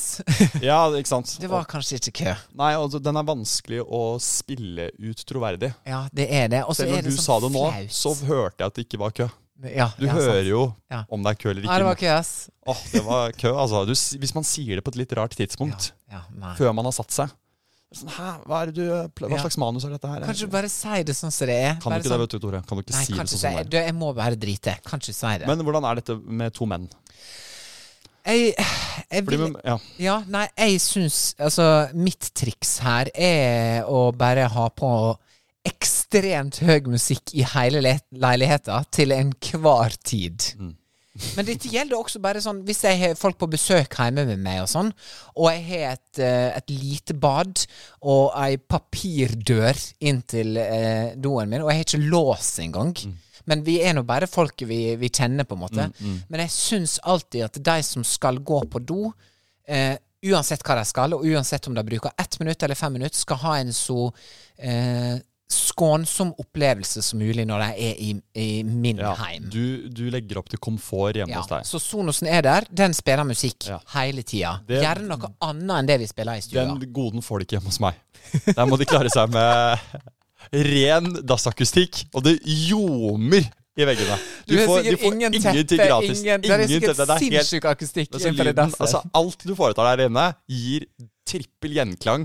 Speaker 1: Ja, ikke sant?
Speaker 2: Det var kanskje ikke kø.
Speaker 1: Og- Nei, altså, den er vanskelig å spille ut troverdig.
Speaker 2: Ja, det er det. Og så
Speaker 1: Selv
Speaker 2: er
Speaker 1: når
Speaker 2: det
Speaker 1: du
Speaker 2: sånn
Speaker 1: sa det nå,
Speaker 2: flaut.
Speaker 1: så hørte jeg at det ikke var kø.
Speaker 2: ja,
Speaker 1: Du
Speaker 2: ja, sant.
Speaker 1: hører jo
Speaker 2: Ja.
Speaker 1: om det er kø eller ikke.
Speaker 2: Nei, det var kø, ass.
Speaker 1: Åh, det var kø, altså. Du, s- hvis man sier det på et litt rart tidspunkt,
Speaker 2: Ja, nei.
Speaker 1: før man har satt seg sånn, Hæ, hva, er det du, pla- hva
Speaker 2: Ja.
Speaker 1: slags manus er dette her?
Speaker 2: Kanskje du bare si det sånn som det er.
Speaker 1: Kan
Speaker 2: bare
Speaker 1: du ikke
Speaker 2: sånn,
Speaker 1: det, vet du, Tore? Kan du ikke
Speaker 2: Nei,
Speaker 1: si
Speaker 2: kan
Speaker 1: det
Speaker 2: ikke
Speaker 1: sånn
Speaker 2: si
Speaker 1: som det er?
Speaker 2: Du, Jeg må bare drite. Kan ikke si det.
Speaker 1: Men hvordan er dette med to menn?
Speaker 2: jeg, jeg
Speaker 1: Fordi
Speaker 2: vil,
Speaker 1: med, ja.
Speaker 2: Ja, nei, jeg syns Altså, mitt triks her er å bare ha på ekstremt høy musikk i hele le- leiligheta til enhver tid. Men dette gjelder også bare sånn hvis jeg har folk på besøk hjemme med meg, og sånn, og jeg har et, eh, et lite bad og ei papirdør inn til eh, doen min, og jeg har ikke lås engang.
Speaker 1: Mm.
Speaker 2: Men vi er nå bare folk vi, vi kjenner, på en måte.
Speaker 1: mm.
Speaker 2: Men jeg syns alltid at de som skal gå på do, eh, uansett hva de skal, og uansett om de bruker ett minutt eller fem minutter, skal ha en så eh, skånsom opplevelse som mulig når de er i, i min
Speaker 1: Ja.
Speaker 2: heim.
Speaker 1: Du, du legger opp til komfort hjemme
Speaker 2: Ja,
Speaker 1: hos deg.
Speaker 2: så Sonosen er der. Den spiller musikk
Speaker 1: Ja.
Speaker 2: hele tida.
Speaker 1: Det-
Speaker 2: Gjerne noe annet enn det vi spiller i stua.
Speaker 1: Den goden får de ikke hjemme hos meg. Der må de klare seg med ren dassakustikk, og det ljomer i veggene.
Speaker 2: du har
Speaker 1: får-
Speaker 2: sikkert
Speaker 1: får
Speaker 2: ingen
Speaker 1: ingenting
Speaker 2: teppe,
Speaker 1: gratis.
Speaker 2: ingen Det er
Speaker 1: Ingen
Speaker 2: sikkert
Speaker 1: teppe. Det er helt-
Speaker 2: sinnssyk akustikk
Speaker 1: altså,
Speaker 2: innenfor det
Speaker 1: lyden,
Speaker 2: dasset.
Speaker 1: altså, alt du foretar der inne, gir trippel gjenklang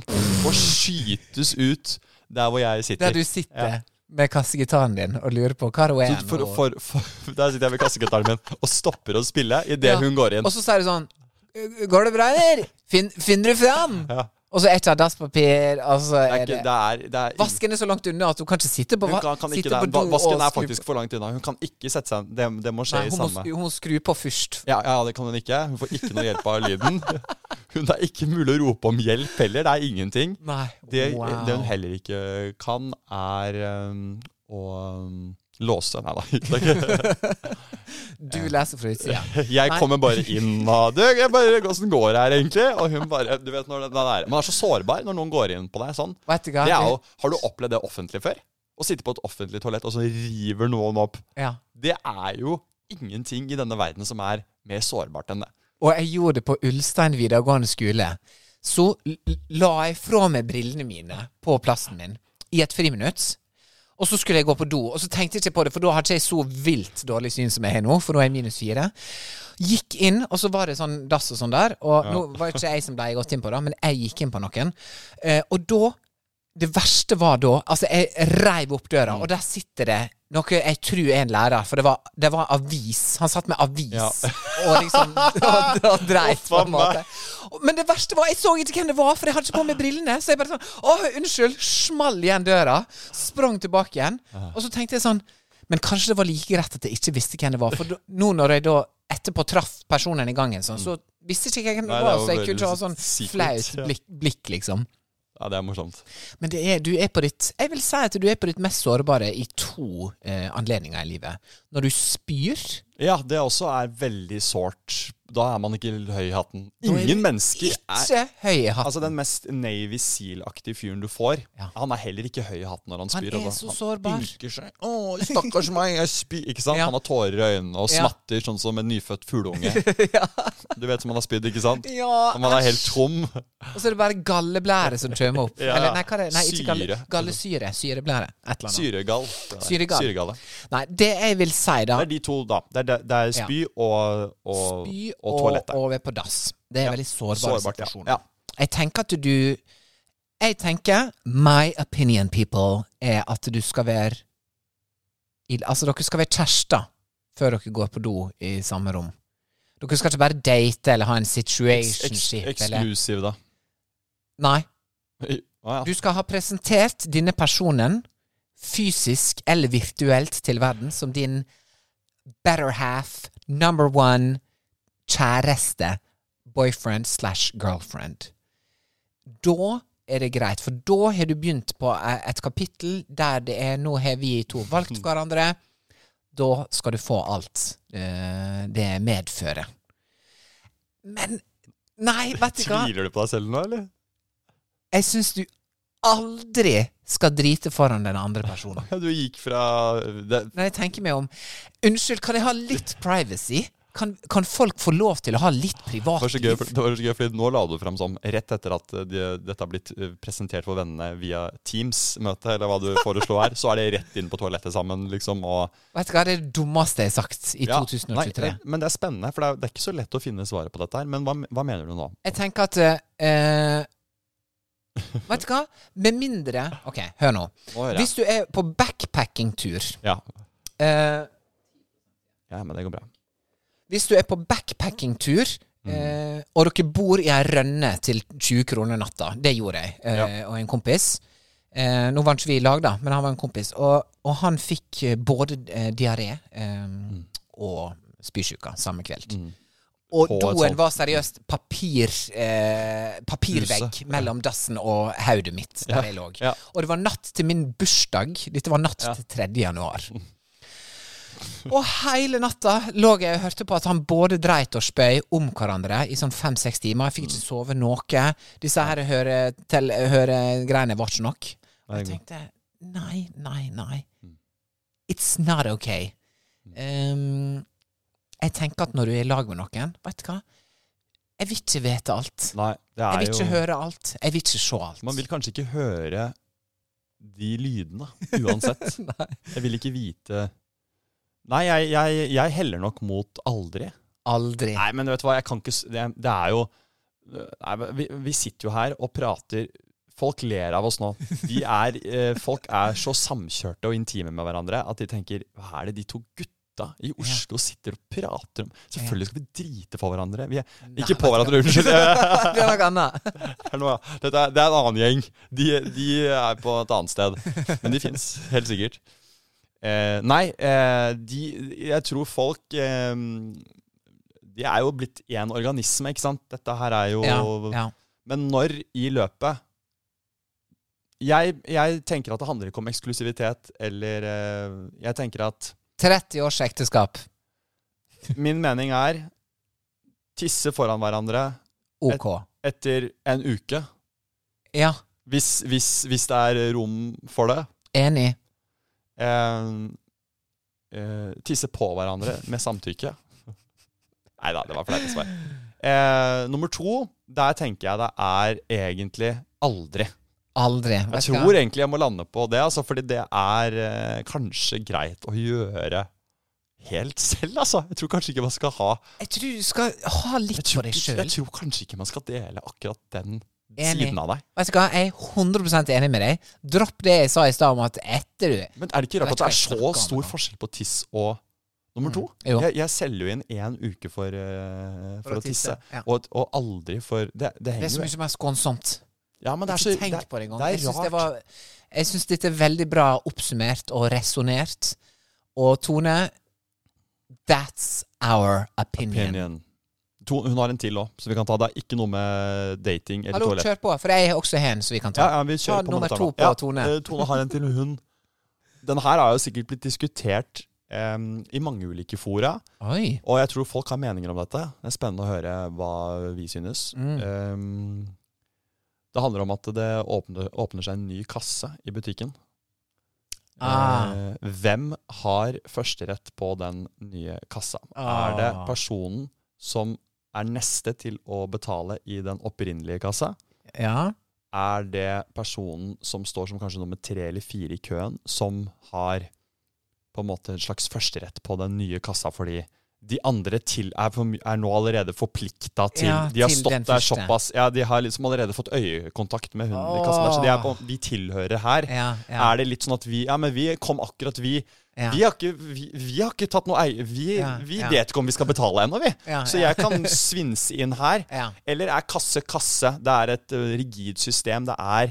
Speaker 1: og skytes ut der hvor jeg sitter.
Speaker 2: Der du sitter
Speaker 1: Ja.
Speaker 2: med kassegitaren din og lurer på hva det er.
Speaker 1: Så for,
Speaker 2: og-
Speaker 1: for, for, der sitter jeg med kassegitaren min og stopper å spille idet
Speaker 2: Ja.
Speaker 1: hun går inn.
Speaker 2: Og så sier du sånn Går det bra, eller? Finn, finner du fram? Og så er ikke det dasspapir, og så
Speaker 1: Det er
Speaker 2: er
Speaker 1: ikke,
Speaker 2: det
Speaker 1: det er, det er
Speaker 2: Vasken er så langt unna at du kan ikke sitte på,
Speaker 1: Hun
Speaker 2: va-
Speaker 1: kan, kan ikke
Speaker 2: sitte
Speaker 1: det.
Speaker 2: på do
Speaker 1: Va- Vasken
Speaker 2: og
Speaker 1: er
Speaker 2: skru
Speaker 1: faktisk
Speaker 2: på-
Speaker 1: for langt unna. Hun kan ikke sette seg Det, det må skje
Speaker 2: Nei,
Speaker 1: i
Speaker 2: hun,
Speaker 1: samme
Speaker 2: må, hun må skru på først.
Speaker 1: ja, ja, det kan hun ikke. Hun får ikke noe hjelp av lyden. Hun er ikke mulig å rope om hjelp heller. Det er ingenting.
Speaker 2: Nei,
Speaker 1: Det,
Speaker 2: wow.
Speaker 1: det hun heller ikke kan, er øhm, å øhm, låse. Nei da. det er ikke-
Speaker 2: Du leser fra utsida.
Speaker 1: Jeg
Speaker 2: Nei.
Speaker 1: kommer bare inn og Du, jeg bare, åssen går det her, egentlig? Og hun bare Du vet når den den er Man er så sårbar når noen går inn på deg sånn.
Speaker 2: Vet du hva?
Speaker 1: Det er jo Har du opplevd det offentlig før? Å sitte på et offentlig toalett, og så river noen opp.
Speaker 2: ja.
Speaker 1: Det er jo ingenting i denne verden som er mer sårbart enn det.
Speaker 2: Og jeg gjorde det på Ulstein videregående skole. Så l- la jeg fra meg brillene mine på plassen min i et friminutt. Og så skulle jeg gå på do, og så tenkte jeg ikke på det, for da hadde ikke jeg så vilt dårlig syn som jeg har nå, for nå er jeg minus fire. Gikk inn, og så var det sånn dass og sånn der, og nå var ikke jeg som de gått inn på, da, men jeg gikk inn på noen. Eh, og da det verste var da Altså, jeg reiv opp døra,
Speaker 1: Mm.
Speaker 2: og der sitter det noe jeg tror er en lærer, for det var, det var avis. Han satt med avis
Speaker 1: Ja.
Speaker 2: og liksom og, og dreit,
Speaker 1: Å,
Speaker 2: på
Speaker 1: faen
Speaker 2: en måte. Men det verste var, jeg så ikke hvem det var, for jeg hadde ikke på meg brillene. Så jeg bare sånn Å, unnskyld! Small igjen døra. Sprang tilbake igjen. Og så tenkte jeg sånn Men kanskje det var like greit at jeg ikke visste hvem det var, for da- nå når jeg da etterpå traff personen i gangen, sånn, så visste ikke jeg hvem
Speaker 1: Mm.
Speaker 2: det
Speaker 1: Nei, det
Speaker 2: var,
Speaker 1: var
Speaker 2: så jeg kunne
Speaker 1: veldig
Speaker 2: ikke ha sånn
Speaker 1: secret,
Speaker 2: flaut
Speaker 1: ja.
Speaker 2: blikk, blikk liksom.
Speaker 1: Ja, det er morsomt.
Speaker 2: Men det er, du er på ditt Jeg vil si at du er på ditt mest sårbare i to eh, anledninger i livet. Når du spyr
Speaker 1: Ja, det også er veldig sårt. Da er man ikke høy i hatten.
Speaker 2: Da er
Speaker 1: Ingen
Speaker 2: du
Speaker 1: mennesker er
Speaker 2: Ikke høy i hatten.
Speaker 1: Altså, den mest Navy Seal-aktige fyren du får,
Speaker 2: Ja.
Speaker 1: han er heller ikke høy i hatten når han
Speaker 2: Han
Speaker 1: spyr.
Speaker 2: er
Speaker 1: altså.
Speaker 2: så sårbar.
Speaker 1: Han ynker seg. Å, stakkars meg, jeg spyr. Ikke sant?
Speaker 2: Ja.
Speaker 1: Han har tårer i øynene og
Speaker 2: Ja.
Speaker 1: smatter sånn som en nyfødt fugleunge. Du vet som han har spydd, ikke sant?
Speaker 2: Ja,
Speaker 1: Man er helt
Speaker 2: æsj.
Speaker 1: tom.
Speaker 2: Og så er det bare galleblære som kommer opp.
Speaker 1: Ja.
Speaker 2: Eller nei, hva er det? nei ikke galle,
Speaker 1: Syre.
Speaker 2: gallesyre. Syreblære. Et eller annet.
Speaker 1: Syregall.
Speaker 2: Syregall.
Speaker 1: Syregalle.
Speaker 2: Nei, det jeg vil si, da
Speaker 1: Det er de to, da. Det er, det- det er spy og, og,
Speaker 2: Spy
Speaker 1: og
Speaker 2: og,
Speaker 1: toalettet.
Speaker 2: over på dass. Det er veldig sårbare
Speaker 1: Sårbart, ja.
Speaker 2: situasjoner.
Speaker 1: Ja.
Speaker 2: Jeg tenker at du Jeg tenker My opinion, people, er at du skal være i, Altså, dere skal være kjærester før dere går på do i samme rom. Dere skal ikke bare date eller ha en
Speaker 1: Ex-
Speaker 2: situationship eller
Speaker 1: Eksklusiv, da.
Speaker 2: Nei.
Speaker 1: Å, ja.
Speaker 2: Du skal ha presentert denne personen fysisk eller virtuelt til verden som din better half, number one, kjæreste, boyfriend slash girlfriend. Da er det greit, for da har du begynt på eh, et kapittel der det er Nå har vi to valgt hverandre. Da skal du få alt eh, det medfører. Men Nei, vet du hva?
Speaker 1: Tviler du på deg selv nå, eller?
Speaker 2: Jeg syns du aldri skal drite foran den andre personen.
Speaker 1: Ja, Du gikk fra det,
Speaker 2: Når jeg tenker meg om Unnskyld, kan jeg ha litt privacy? Kan, kan folk få lov til å ha litt
Speaker 1: Det var, så gøy, for,
Speaker 2: privatliv?
Speaker 1: det var så gøy, fordi nå la du fram som rett etter at eh, de, dette har blitt eh, presentert for vennene via Teams-møte, eller hva du foreslo her, så er det rett inn på toalettet sammen, liksom, og
Speaker 2: Vet du hva, det er det dummeste jeg har sagt i
Speaker 1: Ja, nei,
Speaker 2: 2023.
Speaker 1: det- men det er spennende, for det er, det er ikke så lett å finne svaret på dette her. Men hva, hva mener du nå?
Speaker 2: Jeg tenker at eh, Vet du hva? Med mindre OK, hør nå.
Speaker 1: Nå hører jeg.
Speaker 2: Hvis du er på backpacking-tur
Speaker 1: Ja.
Speaker 2: eh,
Speaker 1: ja, men det går bra.
Speaker 2: Hvis du er på backpacking-tur,
Speaker 1: Mm.
Speaker 2: eh, og dere bor i ei rønne til 20 kroner natta Det gjorde jeg eh, og en kompis. Eh, nå var ikke vi i lag, da, men han var en kompis. Og, og han fikk eh, både eh, diaré eh,
Speaker 1: Mm.
Speaker 2: og spysjuka samme kveld. Og
Speaker 1: På et sånt-
Speaker 2: doen var seriøst papir, eh, papirvegg
Speaker 1: Huset.
Speaker 2: mellom dassen og hodet mitt der jeg lå.
Speaker 1: ja.
Speaker 2: Og det var natt til min bursdag. Dette var natt til 3. januar. Og hele natta lå jeg og hørte på at han både dreit og spøy om hverandre i sånn fem-seks timer. Jeg fikk ikke sove noe. Disse her høre- tel- høregreiene var ikke nok. Og jeg tenkte nei, nei, nei.
Speaker 1: Mm.
Speaker 2: It's not okay. Um, jeg tenker at når du er i lag med noen, vet du hva Jeg vil ikke vite alt.
Speaker 1: Nei, det
Speaker 2: Jeg
Speaker 1: er
Speaker 2: vil ikke
Speaker 1: jo
Speaker 2: høre alt. Jeg vil ikke se alt.
Speaker 1: Man vil kanskje ikke høre de lydene, uansett.
Speaker 2: Nei.
Speaker 1: Jeg vil ikke vite Nei, jeg, jeg, jeg heller nok mot aldri.
Speaker 2: Aldri.
Speaker 1: Nei, men vet du hva, jeg kan ikke s- Det, det er jo Nei, men vi, vi sitter jo her og prater. Folk ler av oss nå. Vi er, eh, folk er så samkjørte og intime med hverandre at de tenker Hva er det de to gutta i Oslo sitter og prater om? Selvfølgelig skal vi drite på hverandre. Vi er, ikke på hverandre, unnskyld.
Speaker 2: Det er noe annet.
Speaker 1: Det er, noe, dette er, det er en annen gjeng. De, de er på et annet sted. Men de fins, helt sikkert. Eh, nei, eh, de, jeg tror folk eh, De er jo blitt én organisme, ikke sant? Dette her er jo
Speaker 2: Ja, ja.
Speaker 1: Men når i løpet jeg, jeg tenker at det handler ikke om eksklusivitet eller eh, Jeg tenker at
Speaker 2: 30 års ekteskap.
Speaker 1: min mening er tisse foran hverandre
Speaker 2: Ok.
Speaker 1: etter en uke.
Speaker 2: Ja,
Speaker 1: Hvis, hvis, hvis det er rom for det.
Speaker 2: enig.
Speaker 1: Eh, eh, tisse på hverandre med samtykke. Nei da, det var fleite svar. Eh, nummer to, der tenker jeg det er egentlig aldri.
Speaker 2: Aldri.
Speaker 1: Jeg
Speaker 2: Vet du hva?
Speaker 1: tror egentlig jeg må lande på det, altså, fordi det er eh, kanskje greit å gjøre helt selv, altså. Jeg tror kanskje ikke man skal ha
Speaker 2: Jeg tror du skal ha
Speaker 1: Jeg
Speaker 2: litt for
Speaker 1: tror,
Speaker 2: deg
Speaker 1: ikke- jeg
Speaker 2: sjøl.
Speaker 1: tror kanskje ikke man skal dele akkurat den
Speaker 2: Enig.
Speaker 1: siden av deg.
Speaker 2: Vet du hva, jeg er 100 enig med deg. Dropp det jeg sa i stad om at etter du
Speaker 1: Men er det ikke rart at det er
Speaker 2: Vet ikke hva jeg
Speaker 1: så
Speaker 2: snakker om
Speaker 1: stor
Speaker 2: nå. Mm.
Speaker 1: forskjell på tiss og nummer to?
Speaker 2: jo.
Speaker 1: Jeg, jeg selger jo inn én uke for, eh, for, å tisse,
Speaker 2: ja.
Speaker 1: og, og aldri for Det, det
Speaker 2: Det er
Speaker 1: henger
Speaker 2: så
Speaker 1: jo
Speaker 2: mye mer skånsomt.
Speaker 1: ja, men det er så,
Speaker 2: Ikke tenk
Speaker 1: det,
Speaker 2: på det engang.
Speaker 1: det
Speaker 2: Jeg
Speaker 1: er
Speaker 2: syns
Speaker 1: rart.
Speaker 2: det var- Jeg syns dette er veldig bra oppsummert og resonnert. Og Tone, that's our opinion.
Speaker 1: Opinion. To, hun har en til òg, så vi kan ta det. er Ikke noe med dating eller
Speaker 2: Hallo,
Speaker 1: toalett.
Speaker 2: kjør på, for jeg har også en som vi kan ta.
Speaker 1: Ja, ja, vi kjører
Speaker 2: Ta
Speaker 1: på
Speaker 2: nummer
Speaker 1: med
Speaker 2: to
Speaker 1: Tone.
Speaker 2: på Tone.
Speaker 1: eh, Tone har en til hun. Den her har jo sikkert blitt diskutert em, i mange ulike fora.
Speaker 2: Oi.
Speaker 1: Og jeg tror folk har meninger om dette. Det er spennende å høre hva vi synes.
Speaker 2: Mm.
Speaker 1: Um, det handler om at det åpner, åpner seg en ny kasse i butikken.
Speaker 2: Ah.
Speaker 1: Eh, hvem har førsterett på den nye kassa?
Speaker 2: Ah.
Speaker 1: Er det personen som er neste til å betale i den opprinnelige kassa?
Speaker 2: Ja.
Speaker 1: Er det personen som står som kanskje nummer tre eller fire i køen, som har på en måte en slags førsterett på den nye kassa fordi de andre til er, for, my- er nå allerede forplikta til
Speaker 2: Ja,
Speaker 1: De har
Speaker 2: til
Speaker 1: stått
Speaker 2: den
Speaker 1: der
Speaker 2: første.
Speaker 1: såpass Ja, de har liksom allerede fått øyekontakt med hunden i kassa der, så de, er på, de tilhører her.
Speaker 2: Ja, ja,
Speaker 1: Er det litt sånn at vi Ja, men vi kom akkurat, vi.
Speaker 2: Ja.
Speaker 1: Vi, har ikke, vi, vi har ikke tatt noe eie... Vi,
Speaker 2: Ja,
Speaker 1: vi
Speaker 2: ja.
Speaker 1: vet ikke om vi skal betale ennå, vi.
Speaker 2: Ja,
Speaker 1: så
Speaker 2: ja.
Speaker 1: jeg kan svinse inn her.
Speaker 2: Ja.
Speaker 1: Eller er kasse kasse? Det er et ø, rigid system. Det er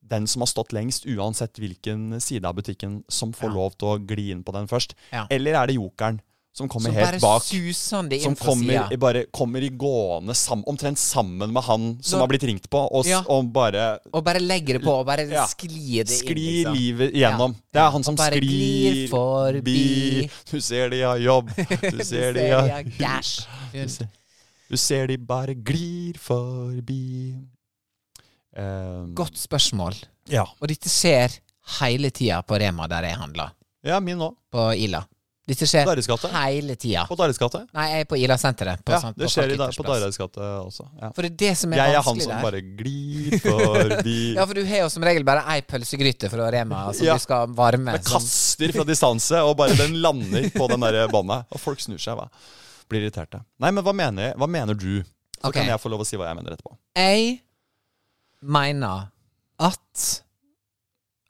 Speaker 1: den som har stått lengst, uansett hvilken side av butikken, som får lov til å gli inn på den først.
Speaker 2: Ja.
Speaker 1: Eller er det jokeren som kommer
Speaker 2: Som bare
Speaker 1: helt bak?
Speaker 2: susende inn
Speaker 1: Som
Speaker 2: fra
Speaker 1: kommer,
Speaker 2: sida.
Speaker 1: bare kommer i gående sam, omtrent sammen med han som
Speaker 2: Når-
Speaker 1: har blitt ringt på, og, s-
Speaker 2: Ja.
Speaker 1: og bare
Speaker 2: Og bare legger det på, og bare
Speaker 1: Ja.
Speaker 2: sklir det inn.
Speaker 1: Sklir
Speaker 2: liksom.
Speaker 1: livet igjennom.
Speaker 2: Ja.
Speaker 1: Det er han som
Speaker 2: Og bare
Speaker 1: sklir
Speaker 2: glir forbi.
Speaker 1: Du ser de har jobb, du ser de
Speaker 2: ja.
Speaker 1: har hus,
Speaker 2: Gæsj. Hun-
Speaker 1: du ser de bare glir forbi. Um,
Speaker 2: Godt spørsmål.
Speaker 1: Ja.
Speaker 2: Og dette skjer hele tida på Rema der jeg handler.
Speaker 1: ja, min òg.
Speaker 2: På Ila. Dette skjer
Speaker 1: Dares gate?
Speaker 2: hele tida.
Speaker 1: På Dares gate.
Speaker 2: Nei, jeg er på Ila-senteret. på
Speaker 1: Ja,
Speaker 2: sånn-
Speaker 1: det
Speaker 2: på
Speaker 1: skjer i da, på Dares
Speaker 2: Parkittersplass.
Speaker 1: gate også. Ja.
Speaker 2: For det er det som er
Speaker 1: Jeg er han
Speaker 2: vanskelig
Speaker 1: som
Speaker 2: der.
Speaker 1: bare glir forbi.
Speaker 2: Ja, for du har jo som regel bare ei pølsegryte fra Rema som
Speaker 1: Ja.
Speaker 2: du skal
Speaker 1: Jeg
Speaker 2: varme. sånn. som-
Speaker 1: kaster sånn fra distanse, og bare den lander på den der båndet. Og folk snur seg. Hva? Blir irriterte. Nei, men hva mener, hva mener du? Så
Speaker 2: Ok.
Speaker 1: kan jeg få lov å si hva jeg mener etterpå.
Speaker 2: Jeg mener at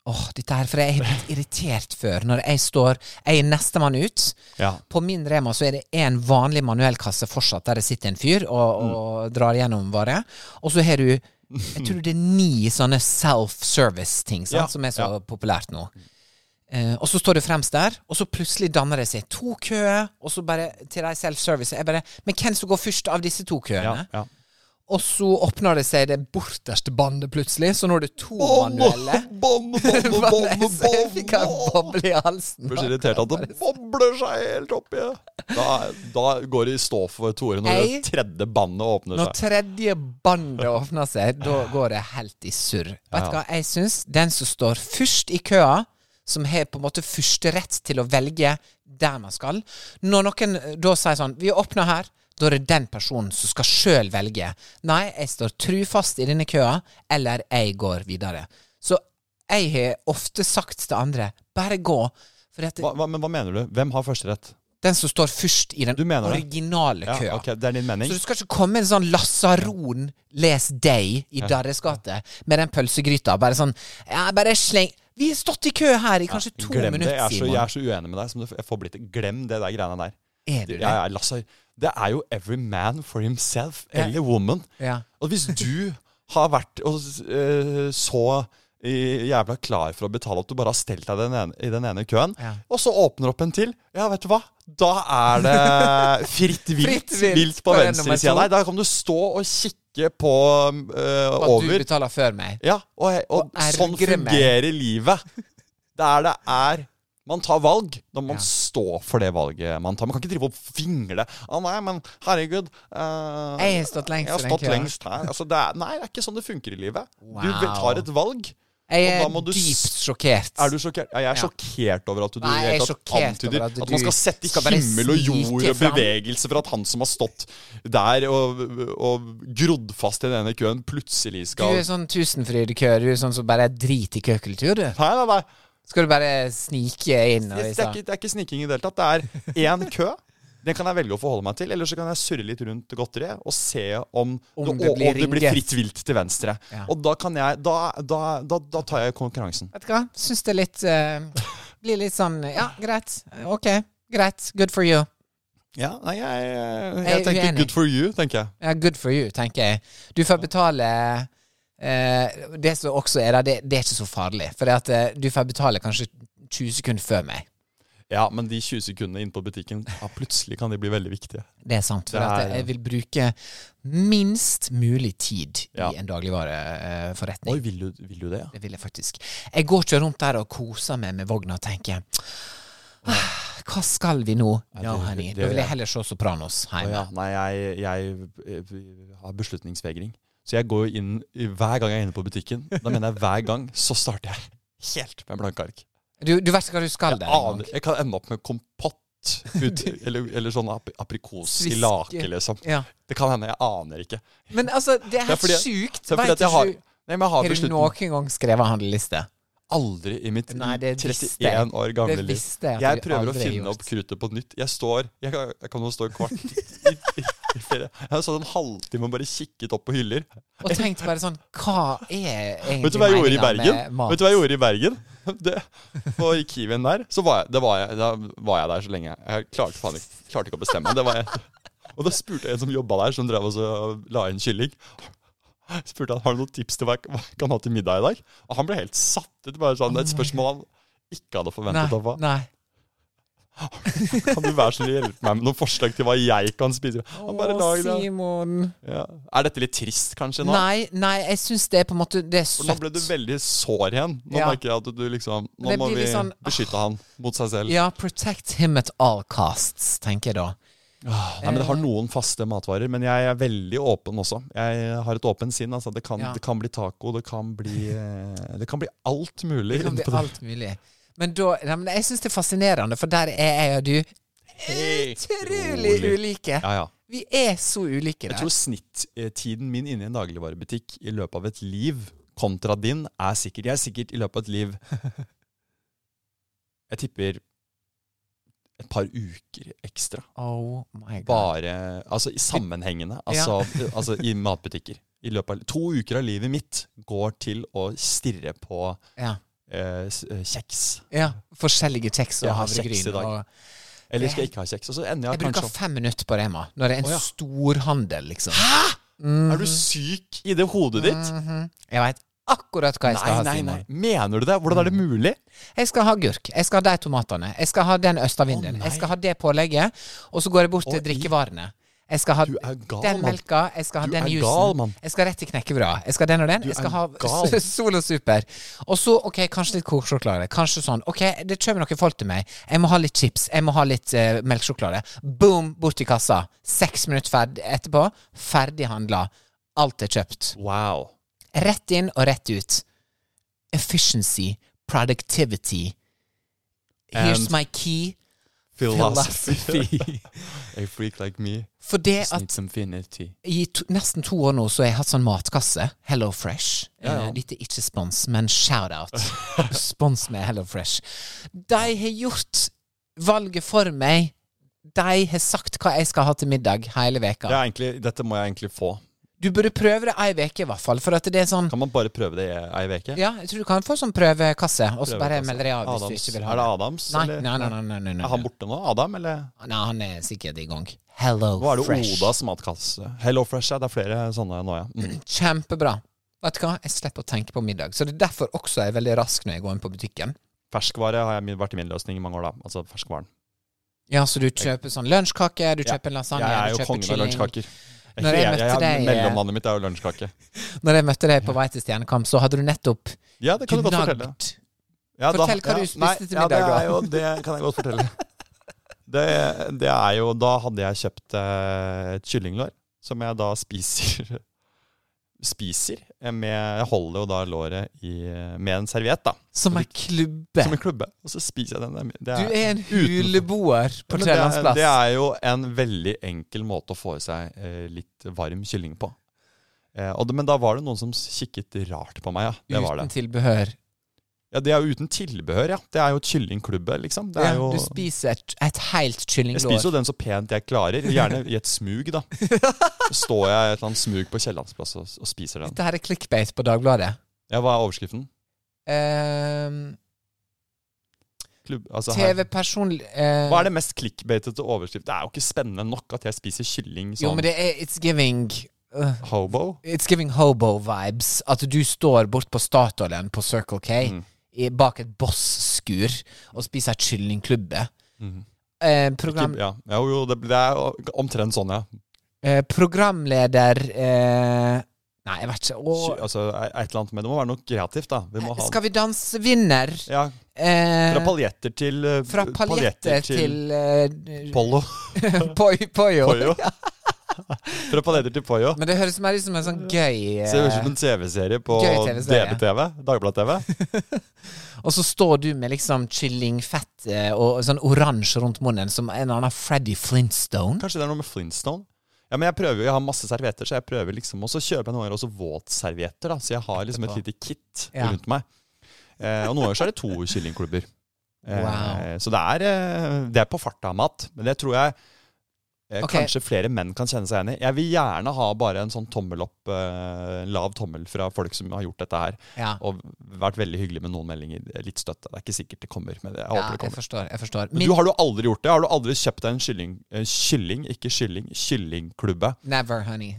Speaker 2: Åh, dette her, for jeg er blitt irritert før. Når jeg står Jeg er nestemann ut.
Speaker 1: Ja.
Speaker 2: På min Rema så er det en vanlig manuell kasse fortsatt, der det sitter en fyr og,
Speaker 1: Mm.
Speaker 2: og drar gjennom varer. Og så har du Jeg tror det er ni sånne self-service-ting sant,
Speaker 1: Ja,
Speaker 2: som er så populært nå. Eh, og så står du fremst der, og så plutselig danner det seg to køer, og så bare til de self-service Jeg bare Men hvem som går først av disse to køene?
Speaker 1: Ja, ja.
Speaker 2: Og så åpner det seg det borterste bandet plutselig, så nå er det to manuelle.
Speaker 1: Bonde, bonde, bonde, bonde,
Speaker 2: Så jeg fikk en boble i halsen.
Speaker 1: Blir så irritert at det bobler seg helt oppi. Da, da går det i stå for Tore når
Speaker 2: Ei.
Speaker 1: det tredje bandet åpner
Speaker 2: Når
Speaker 1: seg.
Speaker 2: tredje bandet åpner seg, da går det helt i surr. Vet du hva jeg syns? Den som står først i køa, som har på en måte førsterett til å velge der man skal Når noen eh, da sier sånn 'Vi åpner her', da er det den personen som skal sjøl velge. Nei, jeg står trufast i denne køa, eller jeg går videre. Så jeg har ofte sagt til andre 'Bare gå'. For at
Speaker 1: Hva, hva, men hva mener du? Hvem har førsterett?
Speaker 2: Den som står først i den
Speaker 1: Du mener det?
Speaker 2: originale køa.
Speaker 1: Ja, ok, det er din mening.
Speaker 2: Så du skal ikke komme en sånn lasaron les deg i Darres gate med den pølsegryta. Bare sånn ja, bare sleng Vi har stått i kø her i kanskje to
Speaker 1: Glem det.
Speaker 2: minutter,
Speaker 1: Jeg er, så,
Speaker 2: Simon.
Speaker 1: jeg er så uenig med deg som det f- jeg får blitt. det. Glem det der greiene der.
Speaker 2: Er du det?
Speaker 1: Jeg er lasar. Det er jo every man for himself
Speaker 2: Ja.
Speaker 1: eller woman.
Speaker 2: Ja.
Speaker 1: Og hvis du har vært og, s- eh, så i- jævla klar for å betale at du bare har stelt deg den ene, i den ene køen,
Speaker 2: Ja.
Speaker 1: og så åpner opp en til, ja, vet du hva? Da er det fritt vilt,
Speaker 2: Fritt
Speaker 1: fritt
Speaker 2: vilt
Speaker 1: vilt,
Speaker 2: på
Speaker 1: på,
Speaker 2: den nummer
Speaker 1: venstre sida.
Speaker 2: to.
Speaker 1: Nei, da kan du stå og kikke på eh,
Speaker 2: At du
Speaker 1: over.
Speaker 2: betaler før meg.
Speaker 1: Ja, og, og,
Speaker 2: Og
Speaker 1: sånn
Speaker 2: ergre meg.
Speaker 1: fungerer livet. Der det er man tar valg. Da må man
Speaker 2: Ja.
Speaker 1: stå for det valget man tar. Man kan ikke drive og fingle. Å nei, men herregud eh,
Speaker 2: Jeg har stått lengst
Speaker 1: jeg har
Speaker 2: i den
Speaker 1: stått
Speaker 2: køen.
Speaker 1: lengst her. Altså, det er, nei, det er ikke sånn det funker i livet. Du
Speaker 2: Wow.
Speaker 1: tar et valg.
Speaker 2: Jeg
Speaker 1: Og
Speaker 2: er
Speaker 1: da må du s-
Speaker 2: dypt sjokkert.
Speaker 1: Er du sjokkert? Ja, jeg er
Speaker 2: Ja.
Speaker 1: sjokkert over at du
Speaker 2: Nei,
Speaker 1: i det
Speaker 2: jeg er
Speaker 1: hele tatt
Speaker 2: sjokkert over
Speaker 1: antyder
Speaker 2: at
Speaker 1: at,
Speaker 2: du
Speaker 1: man skal sette
Speaker 2: skal bare
Speaker 1: himmel og jord
Speaker 2: snike
Speaker 1: og
Speaker 2: fram.
Speaker 1: bevegelse for at han som har stått der og, og grodd fast i den ene køen, plutselig
Speaker 2: Du
Speaker 1: skal
Speaker 2: er sånn tusenfrydekø. Du er sånn som bare driter i køkultur, du.
Speaker 1: Nei, nei, nei.
Speaker 2: Skal du bare snike inn? Og
Speaker 1: Det, det,
Speaker 2: liksom-
Speaker 1: er ikke, det er ikke sniking i det hele tatt. Det er én kø. Den kan jeg velge å forholde meg til. Eller så kan jeg surre litt rundt godteriet og se om,
Speaker 2: Om
Speaker 1: det,
Speaker 2: det
Speaker 1: og,
Speaker 2: blir
Speaker 1: og det blir
Speaker 2: ringet.
Speaker 1: fritt vilt til venstre.
Speaker 2: Ja.
Speaker 1: Og da kan jeg da, da, da, da tar jeg konkurransen.
Speaker 2: Vet du hva? Syns det er litt eh, Blir litt sånn Ja, greit. Ok. Greit. Good for you.
Speaker 1: Ja, nei, jeg, jeg,
Speaker 2: Jeg er
Speaker 1: tenker
Speaker 2: uenig.
Speaker 1: good for you, tenker jeg.
Speaker 2: Ja, good for you, tenker jeg. Du får betale eh, Det som også er der, det, det er ikke så farlig. For det at, eh, du får betale kanskje 20 sekunder før meg.
Speaker 1: Ja, men de 20 sekundene inne på butikken, ja, plutselig kan de bli veldig viktige.
Speaker 2: Det er sant. For
Speaker 1: Det er-
Speaker 2: at jeg vil bruke minst mulig tid
Speaker 1: Ja.
Speaker 2: i en dagligvareforretning.
Speaker 1: Oi, vil du, vil du det, ja?
Speaker 2: Det vil jeg faktisk. Jeg går ikke rundt der og koser meg med vogna og tenker «Ah, Hva skal vi nå? Ja,
Speaker 1: det-
Speaker 2: honey.
Speaker 1: det-
Speaker 2: Da vil jeg heller se Sopranos
Speaker 1: Å
Speaker 2: hjemme.
Speaker 1: ja. Nei, jeg, jeg, eh, har beslutningsvegring. Så jeg går jo inn i- hver gang jeg er inne på butikken. Da mener jeg hver gang, så starter jeg helt med blanke ark.
Speaker 2: Du, du vet ikke hva du skal der.
Speaker 1: Jeg
Speaker 2: en
Speaker 1: aner
Speaker 2: gang.
Speaker 1: Jeg kan ende opp med kompott. Ut, eller, eller sånn ap aprikos i
Speaker 2: Sviske.
Speaker 1: lake, liksom.
Speaker 2: Ja.
Speaker 1: Det kan hende. Jeg aner ikke.
Speaker 2: Men altså, det er
Speaker 1: Det er
Speaker 2: helt
Speaker 1: fordi-
Speaker 2: sjukt.
Speaker 1: Så
Speaker 2: Vet
Speaker 1: fordi at jeg
Speaker 2: ikke
Speaker 1: har,
Speaker 2: du-
Speaker 1: nei, men jeg har
Speaker 2: Har du
Speaker 1: beslutning
Speaker 2: noen gang skrevet handleliste?
Speaker 1: aldri i mitt
Speaker 2: Nei, det visste jeg.
Speaker 1: 31 år gamle
Speaker 2: Det
Speaker 1: liv.
Speaker 2: visste jeg at
Speaker 1: Jeg
Speaker 2: du
Speaker 1: prøver å
Speaker 2: aldri
Speaker 1: finne
Speaker 2: gjort.
Speaker 1: opp kruttet på nytt. Jeg står Jeg kan, jeg kan jo stå i kvart i, i, i flere. Jeg har stått en halvtime og bare kikket opp på hyller.
Speaker 2: Og tenkt bare sånn Hva er egentlig
Speaker 1: Vet du hva jeg gjorde i
Speaker 2: meningen
Speaker 1: Bergen?
Speaker 2: med mat?
Speaker 1: Vet du hva jeg gjorde i Bergen? Det, på Kiwien der, så var jeg, det var jeg, da var jeg der så lenge. Jeg klarte, faen, ikke- klarte ikke å bestemme. Det var jeg. Og da spurte jeg en som jobba der, som drev og så la inn kylling. Spurte han, Har du noen tips til hva jeg hva jeg kan ha til middag i dag. Og han ble helt satt ut. bare sånn, Det er et spørsmål han ikke hadde forventet å få.
Speaker 2: Nei, nei.
Speaker 1: Kan du være så snill hjelpe meg med noen forslag til hva jeg kan spise? Han bare
Speaker 2: Å,
Speaker 1: lag det.
Speaker 2: Simon.
Speaker 1: Ja. Er dette litt trist kanskje nå?
Speaker 2: Nei, nei, jeg syns det er på en måte Det er
Speaker 1: For nå ble du
Speaker 2: søtt.
Speaker 1: veldig sår igjen. Nå
Speaker 2: Ja.
Speaker 1: merker jeg at du liksom Nå
Speaker 2: Det
Speaker 1: må
Speaker 2: blir
Speaker 1: vi
Speaker 2: litt sånn, ah.
Speaker 1: beskytte han mot seg selv.
Speaker 2: Ja, protect him at all costs, tenker jeg da.
Speaker 1: Nei, men Det har noen faste matvarer, men jeg er veldig åpen også. Jeg har et åpent sinn. Altså. Det, kan,
Speaker 2: Ja.
Speaker 1: det kan bli taco, det kan bli eh, Det kan bli alt mulig.
Speaker 2: Det kan bli
Speaker 1: innenfor
Speaker 2: alt mulig. Men da ja, men Jeg syns det er fascinerende, for der er jeg og du utrolig
Speaker 1: utrolig.
Speaker 2: ulike.
Speaker 1: Ja, ja.
Speaker 2: Vi er så ulike
Speaker 1: Jeg
Speaker 2: der.
Speaker 1: tror snittiden min inne i en dagligvarebutikk i løpet av et liv kontra din er sikkert Jeg er sikkert i løpet av et liv Jeg tipper et par uker ekstra.
Speaker 2: Oh my god.
Speaker 1: bare Altså i sammenhengende. Altså, altså i matbutikker. I løpet av to uker av livet mitt går til å stirre på
Speaker 2: Ja.
Speaker 1: eh, s- eh, kjeks.
Speaker 2: ja. Forskjellige kjeks og
Speaker 1: Jeg har
Speaker 2: havregryn.
Speaker 1: kjeks i dag.
Speaker 2: og-
Speaker 1: Eller skal jeg ikke ha kjeks? Og så ender
Speaker 2: Jeg
Speaker 1: jeg,
Speaker 2: bruker
Speaker 1: kanskje opp
Speaker 2: fem minutter på Rema når det er en
Speaker 1: Å, ja.
Speaker 2: storhandel, liksom.
Speaker 1: Er du syk i det hodet ditt?
Speaker 2: Mhm. Jeg veit akkurat hva Mm. jeg
Speaker 1: Nei,
Speaker 2: skal ha, Mm.
Speaker 1: nei,
Speaker 2: Simon.
Speaker 1: nei. Mener du det? Hvordan er det mulig?
Speaker 2: Jeg skal ha agurk. Jeg skal ha de tomatene. Jeg skal ha den østavinden.
Speaker 1: Å, nei.
Speaker 2: jeg skal ha det pålegget. Og så går jeg bort til
Speaker 1: Å, i-
Speaker 2: drikkevarene. Jeg skal ha
Speaker 1: Du er gal,
Speaker 2: den
Speaker 1: mann.
Speaker 2: melka, jeg skal ha
Speaker 1: Du
Speaker 2: den
Speaker 1: er
Speaker 2: juicen.
Speaker 1: gal, mann.
Speaker 2: Jeg skal ha rett til knekkebrød. Jeg skal ha den og den.
Speaker 1: Du
Speaker 2: jeg skal
Speaker 1: er
Speaker 2: ha
Speaker 1: gal.
Speaker 2: Sol og Super. Og så, OK, kanskje litt kokesjokolade. Kanskje sånn. OK, det kommer noen folk til meg. Jeg må ha litt chips. Jeg må ha litt eh, melkesjokolade. Boom, bort til kassa. Seks minutter ferd etterpå. Ferdig handla. Alt er kjøpt.
Speaker 1: Wow.
Speaker 2: Rett inn og rett ut. Efficiency. Productivity. Here's
Speaker 1: And
Speaker 2: my key.
Speaker 1: Philosophy.
Speaker 2: Philosophy.
Speaker 1: A freak like me
Speaker 2: For det
Speaker 1: just
Speaker 2: at
Speaker 1: needs infinity.
Speaker 2: i to, nesten to år nå så har jeg hatt sånn matkasse. Hello Fresh.
Speaker 1: Ja, ja.
Speaker 2: Eh, Dette er ikke spons, men shout-out. Spons med Hello Fresh. De har gjort valget for meg de har sagt hva jeg skal ha til middag hele veka.
Speaker 1: Det er egentlig, dette må jeg egentlig få.
Speaker 2: Du burde prøve det ei veke i hvert fall, for at det er sånn
Speaker 1: Kan man bare prøve det i ei uke?
Speaker 2: ja, jeg tror du kan få sånn prøvekasse, og så bare
Speaker 1: Prøvekasse.
Speaker 2: melder deg av hvis
Speaker 1: Adams.
Speaker 2: du ikke vil ha
Speaker 1: Er det Adams,
Speaker 2: Nei,
Speaker 1: eller?
Speaker 2: nei, nei, nei, nei, nei, nei.
Speaker 1: Er han borte nå? Adam, eller?
Speaker 2: Nei, han er sikkert i gang. Hello
Speaker 1: Nå er det
Speaker 2: Fresh.
Speaker 1: Odas matkasse. Hello Fresh, ja. Det er flere sånne nå, ja. Mm.
Speaker 2: Kjempebra. Vet du hva, jeg slipper å tenke på middag. Så det er derfor også jeg er veldig rask når jeg går inn på butikken.
Speaker 1: Ferskvare har jeg vært i min løsning i mange år, da. Altså ferskvaren.
Speaker 2: Ja, så du kjøper sånn lunsjkake, du kjøper lasagne,
Speaker 1: jeg er jo
Speaker 2: du kjøper
Speaker 1: kongen av
Speaker 2: kylling.
Speaker 1: lunsjkaker. Jeg,
Speaker 2: Når jeg
Speaker 1: jeg, jeg,
Speaker 2: møtte deg-
Speaker 1: mellomnavnet mitt er jo lunsjkake.
Speaker 2: Når jeg møtte deg på vei til Stjernekamp, så hadde du nettopp
Speaker 1: Ja, det kan du godt fortelle.
Speaker 2: gnagd.
Speaker 1: Ja,
Speaker 2: Fortell hva du spiste til middag,
Speaker 1: Ja, det,
Speaker 2: da.
Speaker 1: er jo, det kan jeg godt fortelle. Det, det er jo Da hadde jeg kjøpt eh, et kyllinglår, som jeg da spiser Spiser eh, med Jeg holder jo da låret i, med en serviett, da.
Speaker 2: Som ei klubbe.
Speaker 1: Som en klubbe. Og så spiser jeg den. der. Det
Speaker 2: Du er en
Speaker 1: utenfor-
Speaker 2: huleboer på
Speaker 1: Men det er-
Speaker 2: Trelandsplass.
Speaker 1: Det er jo en veldig enkel måte å få i seg eh, litt varm kylling på. Eh, og det, men da var det noen som kikket rart på meg, ja. Det var
Speaker 2: Uten
Speaker 1: det.
Speaker 2: tilbehør.
Speaker 1: Ja, det er jo uten tilbehør, ja. Det er jo et kyllingklubbe, liksom. Det
Speaker 2: Ja,
Speaker 1: er jo,
Speaker 2: Du spiser et, et helt
Speaker 1: jeg
Speaker 2: kyllinglår.
Speaker 1: spiser jo den så pent jeg klarer. Gjerne i et smug, da. Så Står jeg i et eller annet smug på Kiellandsplass og, og spiser den.
Speaker 2: Dette her er clickbait på Dagbladet.
Speaker 1: Ja, hva er overskriften?
Speaker 2: Ehm,
Speaker 1: Klubb, altså her.
Speaker 2: TV-person eh,
Speaker 1: Hva er det mest clickbatete overskrift? Det er jo ikke spennende nok at jeg spiser kylling
Speaker 2: Jo,
Speaker 1: som
Speaker 2: men det er It's giving øh,
Speaker 1: hobo.
Speaker 2: It's giving hobo-vibes. At du står bort på Statoilen på Circle K
Speaker 1: Mhm.
Speaker 2: i, bak et boss-skur og spiser et kyllingklubbe.
Speaker 1: Mhm.
Speaker 2: Eh, program,
Speaker 1: Klubb, ja. Jo, jo, det, det er jo omtrent sånn, ja.
Speaker 2: eh, programleder eh, Nei, jeg vet ikke.
Speaker 1: Ky-
Speaker 2: Åh,
Speaker 1: Altså, e- et eller annet, men det må være noe kreativt, da. Vi må ha
Speaker 2: Eh, skal vi danse-vinner?
Speaker 1: ja,
Speaker 2: Eh,
Speaker 1: Fra paljetter til eh,
Speaker 2: fra
Speaker 1: p-
Speaker 2: paljetter til, eh,
Speaker 1: Pollo.
Speaker 2: poi- Poyo.
Speaker 1: Poyo. Fra paljetter til Poyo.
Speaker 2: Men det høres mer ut som en sånn gøy eh,
Speaker 1: Ser ut som en TV-serie på
Speaker 2: Gøy TV-serie.
Speaker 1: DB-TV. Dagblad-TV.
Speaker 2: eh, Og så står du med liksom kyllingfett eh, og sånn oransje rundt munnen, som en eller annen Freddy Flintstone.
Speaker 1: Kanskje det er noe med Flintstone? Ja, men Jeg prøver jo, jeg har masse servietter, så jeg prøver liksom, og så kjøper jeg noen ganger også våtservietter. da, Så jeg har liksom et lite kit
Speaker 2: Ja.
Speaker 1: rundt meg. Eh, og noen ganger så er det to kyllingklubber. Eh,
Speaker 2: Wow.
Speaker 1: Så det er, eh, det er på farta mat. Men det tror jeg eh,
Speaker 2: Ok.
Speaker 1: kanskje flere menn kan kjenne seg igjen i. Jeg vil gjerne ha bare en sånn tommel opp, eh, lav tommel fra folk som har gjort dette her.
Speaker 2: Ja.
Speaker 1: Og vært veldig hyggelig med noen meldinger. Litt støtte. Det er ikke sikkert det kommer, men jeg håper
Speaker 2: Ja,
Speaker 1: det
Speaker 2: jeg
Speaker 1: kommer.
Speaker 2: forstår. jeg forstår
Speaker 1: Men
Speaker 2: Min,
Speaker 1: du har du aldri gjort det? Har du aldri kjøpt deg en kylling, eh, kylling ikke kylling, kyllingklubbe
Speaker 2: Never, honey.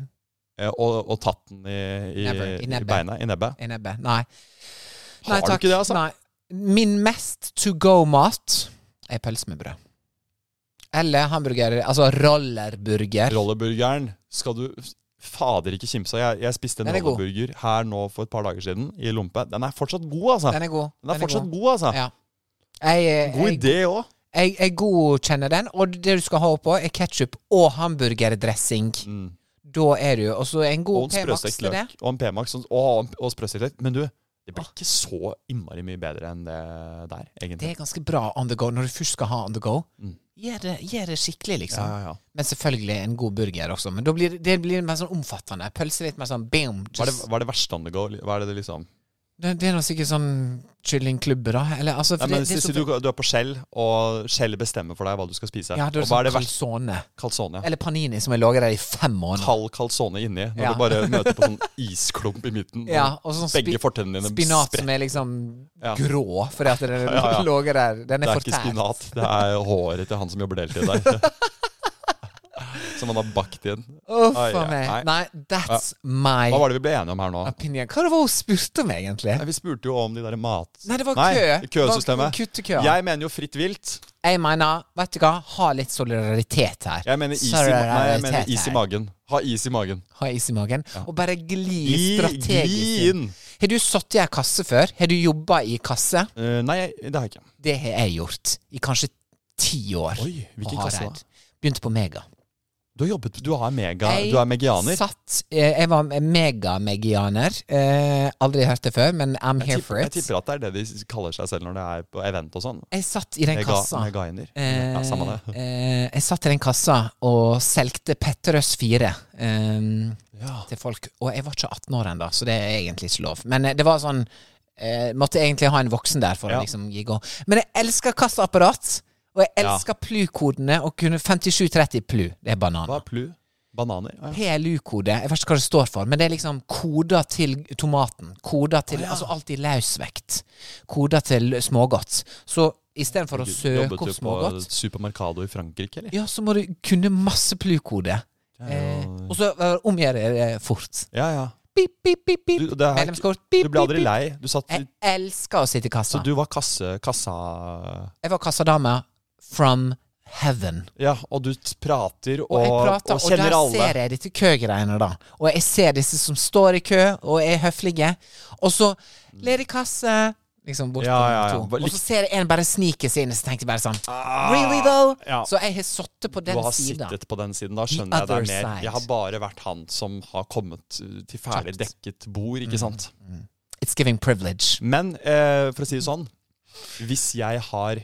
Speaker 1: eh, og, og tatt den i, i,
Speaker 2: Never. I
Speaker 1: i,
Speaker 2: nebbet.
Speaker 1: beina, i nebbet?
Speaker 2: I nebbet. Nei.
Speaker 1: Har du ikke det, altså?
Speaker 2: Nei. Min mest to go-mat er pølse med brød. Eller hamburger Altså rollerburger.
Speaker 1: Rollerburgeren skal du fader ikke kimse av. Jeg, jeg spiste en
Speaker 2: Den er god.
Speaker 1: rollerburger her nå for et par dager siden i Lompe. Den er fortsatt god, altså.
Speaker 2: Den er god.
Speaker 1: Den er fortsatt god, altså.
Speaker 2: Ja. Jeg, eh, jeg,
Speaker 1: God idé òg.
Speaker 2: Jeg, jeg godkjenner den, og det du skal ha oppå, er ketsjup og hamburgerdressing. Da er du Og så en
Speaker 1: Mm. Og
Speaker 2: god
Speaker 1: en
Speaker 2: P-Max
Speaker 1: sprøstekt
Speaker 2: til det.
Speaker 1: løk. Og en P-Max. sånn- Og, og sprøstekt løk. Men du, det blir ikke så innmari mye bedre enn det der,
Speaker 2: Det
Speaker 1: egentlig.
Speaker 2: er ganske bra on the go når du først skal ha on the go. Gjør det, gjør det skikkelig, liksom.
Speaker 1: Mm. Ja, ja, ja.
Speaker 2: Men selvfølgelig en god burger også. Men da blir det- det blir mer sånn omfattende. Pølse litt mer sånn boom.
Speaker 1: Hva er det,
Speaker 2: Just, det,
Speaker 1: hva er det verste on the go? Hva er det det liksom
Speaker 2: det, er nå sikkert sånn kyllingklubber, da. Eller altså for
Speaker 1: Nei, men
Speaker 2: det, det er
Speaker 1: si, si
Speaker 2: så-
Speaker 1: du, du er på Shell, og Shell bestemmer for deg hva du skal spise.
Speaker 2: Ja, det er
Speaker 1: og hva
Speaker 2: sånn
Speaker 1: er det verste?
Speaker 2: calzone.
Speaker 1: Calzone. ja.
Speaker 2: Eller panini, som har ligget der i fem måneder.
Speaker 1: Kald calzone inni, når
Speaker 2: Ja.
Speaker 1: du bare møter på sånn isklump i midten. og
Speaker 2: Ja, og sånn
Speaker 1: begge
Speaker 2: spi-
Speaker 1: fortennene dine
Speaker 2: Spinat
Speaker 1: spretter.
Speaker 2: som er liksom
Speaker 1: Ja.
Speaker 2: grå, fordi at den ja,
Speaker 1: ja.
Speaker 2: der. Den
Speaker 1: Det
Speaker 2: er
Speaker 1: er ikke
Speaker 2: fortært.
Speaker 1: spinat, det er håret til han som jobber deltid der. som han har bakt inn.
Speaker 2: Uff
Speaker 1: Ai,
Speaker 2: a meg.
Speaker 1: ai.
Speaker 2: Nei, that's my
Speaker 1: Hva var det vi ble enige om her nå?
Speaker 2: opinion. Hva var det hun spurte om, egentlig?
Speaker 1: Nei, Vi spurte jo om de der mat...
Speaker 2: Nei, det var kø.
Speaker 1: køsystemet.
Speaker 2: Det var kutt i køa.
Speaker 1: Jeg mener jo fritt vilt.
Speaker 2: Jeg mener, vet du hva, ha litt solidaritet her.
Speaker 1: Jeg mener is i, ma- nei, jeg
Speaker 2: Solidaritet
Speaker 1: mener is i
Speaker 2: her.
Speaker 1: magen. Ha is i magen.
Speaker 2: Ha is i magen, og bare gli
Speaker 1: Gli-
Speaker 2: strategisk
Speaker 1: gli
Speaker 2: inn.
Speaker 1: inn.
Speaker 2: Har du sittet i ei kasse før? Har du jobba i kasse?
Speaker 1: Eh, nei, det har jeg ikke.
Speaker 2: Det har jeg gjort. I kanskje ti år.
Speaker 1: Oi, hvilken
Speaker 2: på
Speaker 1: kasse da?
Speaker 2: Hareid. Begynte på Mega.
Speaker 1: Du har jobbet Du, har mega,
Speaker 2: Jeg
Speaker 1: du er megianer.
Speaker 2: Satt, eh, jeg var megamegianer. Eh, aldri hørt det før, men I'm
Speaker 1: Jeg
Speaker 2: here
Speaker 1: tipper,
Speaker 2: for
Speaker 1: jeg
Speaker 2: it.
Speaker 1: tipper at det er det de kaller seg selv når det er på event og sånn.
Speaker 2: Jeg satt i den
Speaker 1: Mega-
Speaker 2: kassa.
Speaker 1: megainer.
Speaker 2: Eh,
Speaker 1: Ja, samme det.
Speaker 2: eh, jeg satt i den kassa og solgte Petterøes 4 eh, til folk. Og jeg var ikke 18 år ennå, så det er egentlig ikke lov. Men eh, det var sånn eh, Måtte egentlig ha en voksen der for
Speaker 1: Ja.
Speaker 2: å liksom gi gå. Men jeg elsker kassaapparat! Og jeg elsker plu-kodene og kunne 5730 plu. Det er banan.
Speaker 1: Hva er plu? Bananer? Ah, ja.
Speaker 2: PLU-kode. Jeg vet ikke hva det står for, men det er liksom koder til tomaten. Koder til Altså alltid løsvekt. Koder til smågodt. Så istedenfor å
Speaker 1: Du-
Speaker 2: søke
Speaker 1: Jobbet
Speaker 2: opp
Speaker 1: du på
Speaker 2: smågodt,
Speaker 1: Supermercado i Frankrike, eller?
Speaker 2: ja, så må du kunne masse PLU-kode. Eh, og så eh, omgjør jeg det fort.
Speaker 1: Ja, ja.
Speaker 2: Pip, pip, pip, pip.
Speaker 1: Du, det er-
Speaker 2: Medlemskort. Pip,
Speaker 1: Du ble
Speaker 2: pip,
Speaker 1: aldri
Speaker 2: pip. Eh,
Speaker 1: lei. Du satt
Speaker 2: Jeg elsker å sitte i kassa.
Speaker 1: Så du var kasse... Kassa...
Speaker 2: Jeg var kassadame from heaven.
Speaker 1: Ja, og du t- prater og,
Speaker 2: Og, jeg prater,
Speaker 1: og
Speaker 2: og,
Speaker 1: kjenner
Speaker 2: der
Speaker 1: alle.
Speaker 2: ser jeg disse køgreiene, da. Og jeg ser disse som står i kø og er høflige. Og så ledig kasse Liksom bort
Speaker 1: Ja,
Speaker 2: på
Speaker 1: ja, ja.
Speaker 2: nummer to.
Speaker 1: Bare
Speaker 2: Og så ser jeg en bare snike seg inn, og så tenkte jeg bare sånn
Speaker 1: Ah,
Speaker 2: Really, though?
Speaker 1: ja.
Speaker 2: Så jeg har sittet på den
Speaker 1: du har
Speaker 2: sida.
Speaker 1: sittet på den siden. Da
Speaker 2: The
Speaker 1: skjønner jeg det er
Speaker 2: other
Speaker 1: mer.
Speaker 2: side.
Speaker 1: Jeg har bare vært han som har kommet uh, til ferdig
Speaker 2: Kjapt.
Speaker 1: dekket bord,
Speaker 2: Mm.
Speaker 1: ikke sant.
Speaker 2: It's giving privilege.
Speaker 1: Men eh, for å si det sånn, hvis jeg har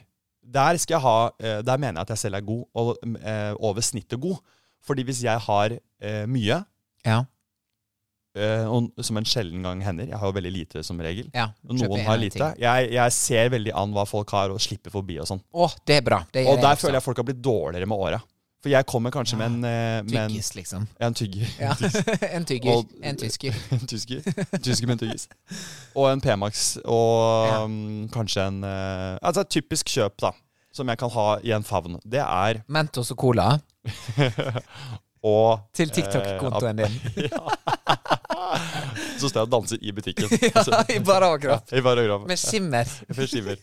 Speaker 1: Der skal jeg ha eh, Der mener jeg at jeg selv er god, og mm, eh, over snittet god. Fordi hvis jeg har eh, mye,
Speaker 2: Ja.
Speaker 1: eh, og, som en sjelden gang hender Jeg har jo veldig lite som regel.
Speaker 2: ja.
Speaker 1: Og
Speaker 2: Kjøper
Speaker 1: noen
Speaker 2: en
Speaker 1: har
Speaker 2: eller
Speaker 1: lite.
Speaker 2: annen ting.
Speaker 1: Jeg, jeg ser veldig an hva folk har, og slipper forbi og sånn.
Speaker 2: Å, det er liksom bra. Det
Speaker 1: Og der føler jeg folk har blitt dårligere med åra. For jeg kommer kanskje med en, eh, med en,
Speaker 2: Tyggis, liksom.
Speaker 1: en tygger.
Speaker 2: Ja. en tygger.
Speaker 1: Og-
Speaker 2: en tysker.
Speaker 1: en tysker. En tysker med en tyggis. Og en P-Max. Og
Speaker 2: Ja.
Speaker 1: mm, kanskje en eh, Altså et typisk kjøp, da. Som jeg kan ha i en favn. Det er
Speaker 2: Mentos og cola
Speaker 1: å
Speaker 2: til
Speaker 1: eh,
Speaker 2: TikTok-kontoen din.
Speaker 1: Så står jeg og danser i butikken.
Speaker 2: ja, I bare
Speaker 1: Ja,
Speaker 2: overkropp.
Speaker 1: I paragraf.
Speaker 2: Med skimmer.
Speaker 1: For skiver.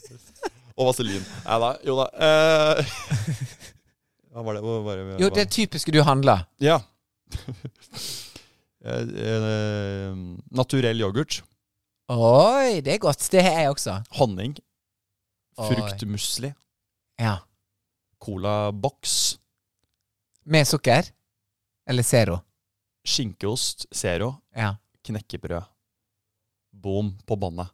Speaker 1: Og vaselin. Nei da, jo da. eh, hva var det? Hva var det?
Speaker 2: Jo, det er typiske du handler.
Speaker 1: Ja. Eh, eh, naturell yoghurt.
Speaker 2: Oi, det er godt. Det har jeg også.
Speaker 1: Honning.
Speaker 2: Oi.
Speaker 1: Fruktmusli.
Speaker 2: Ja.
Speaker 1: Colaboks.
Speaker 2: Med sukker? Eller zero?
Speaker 1: Skinkeost. Zero.
Speaker 2: Ja.
Speaker 1: Knekkebrød. Boom på båndet.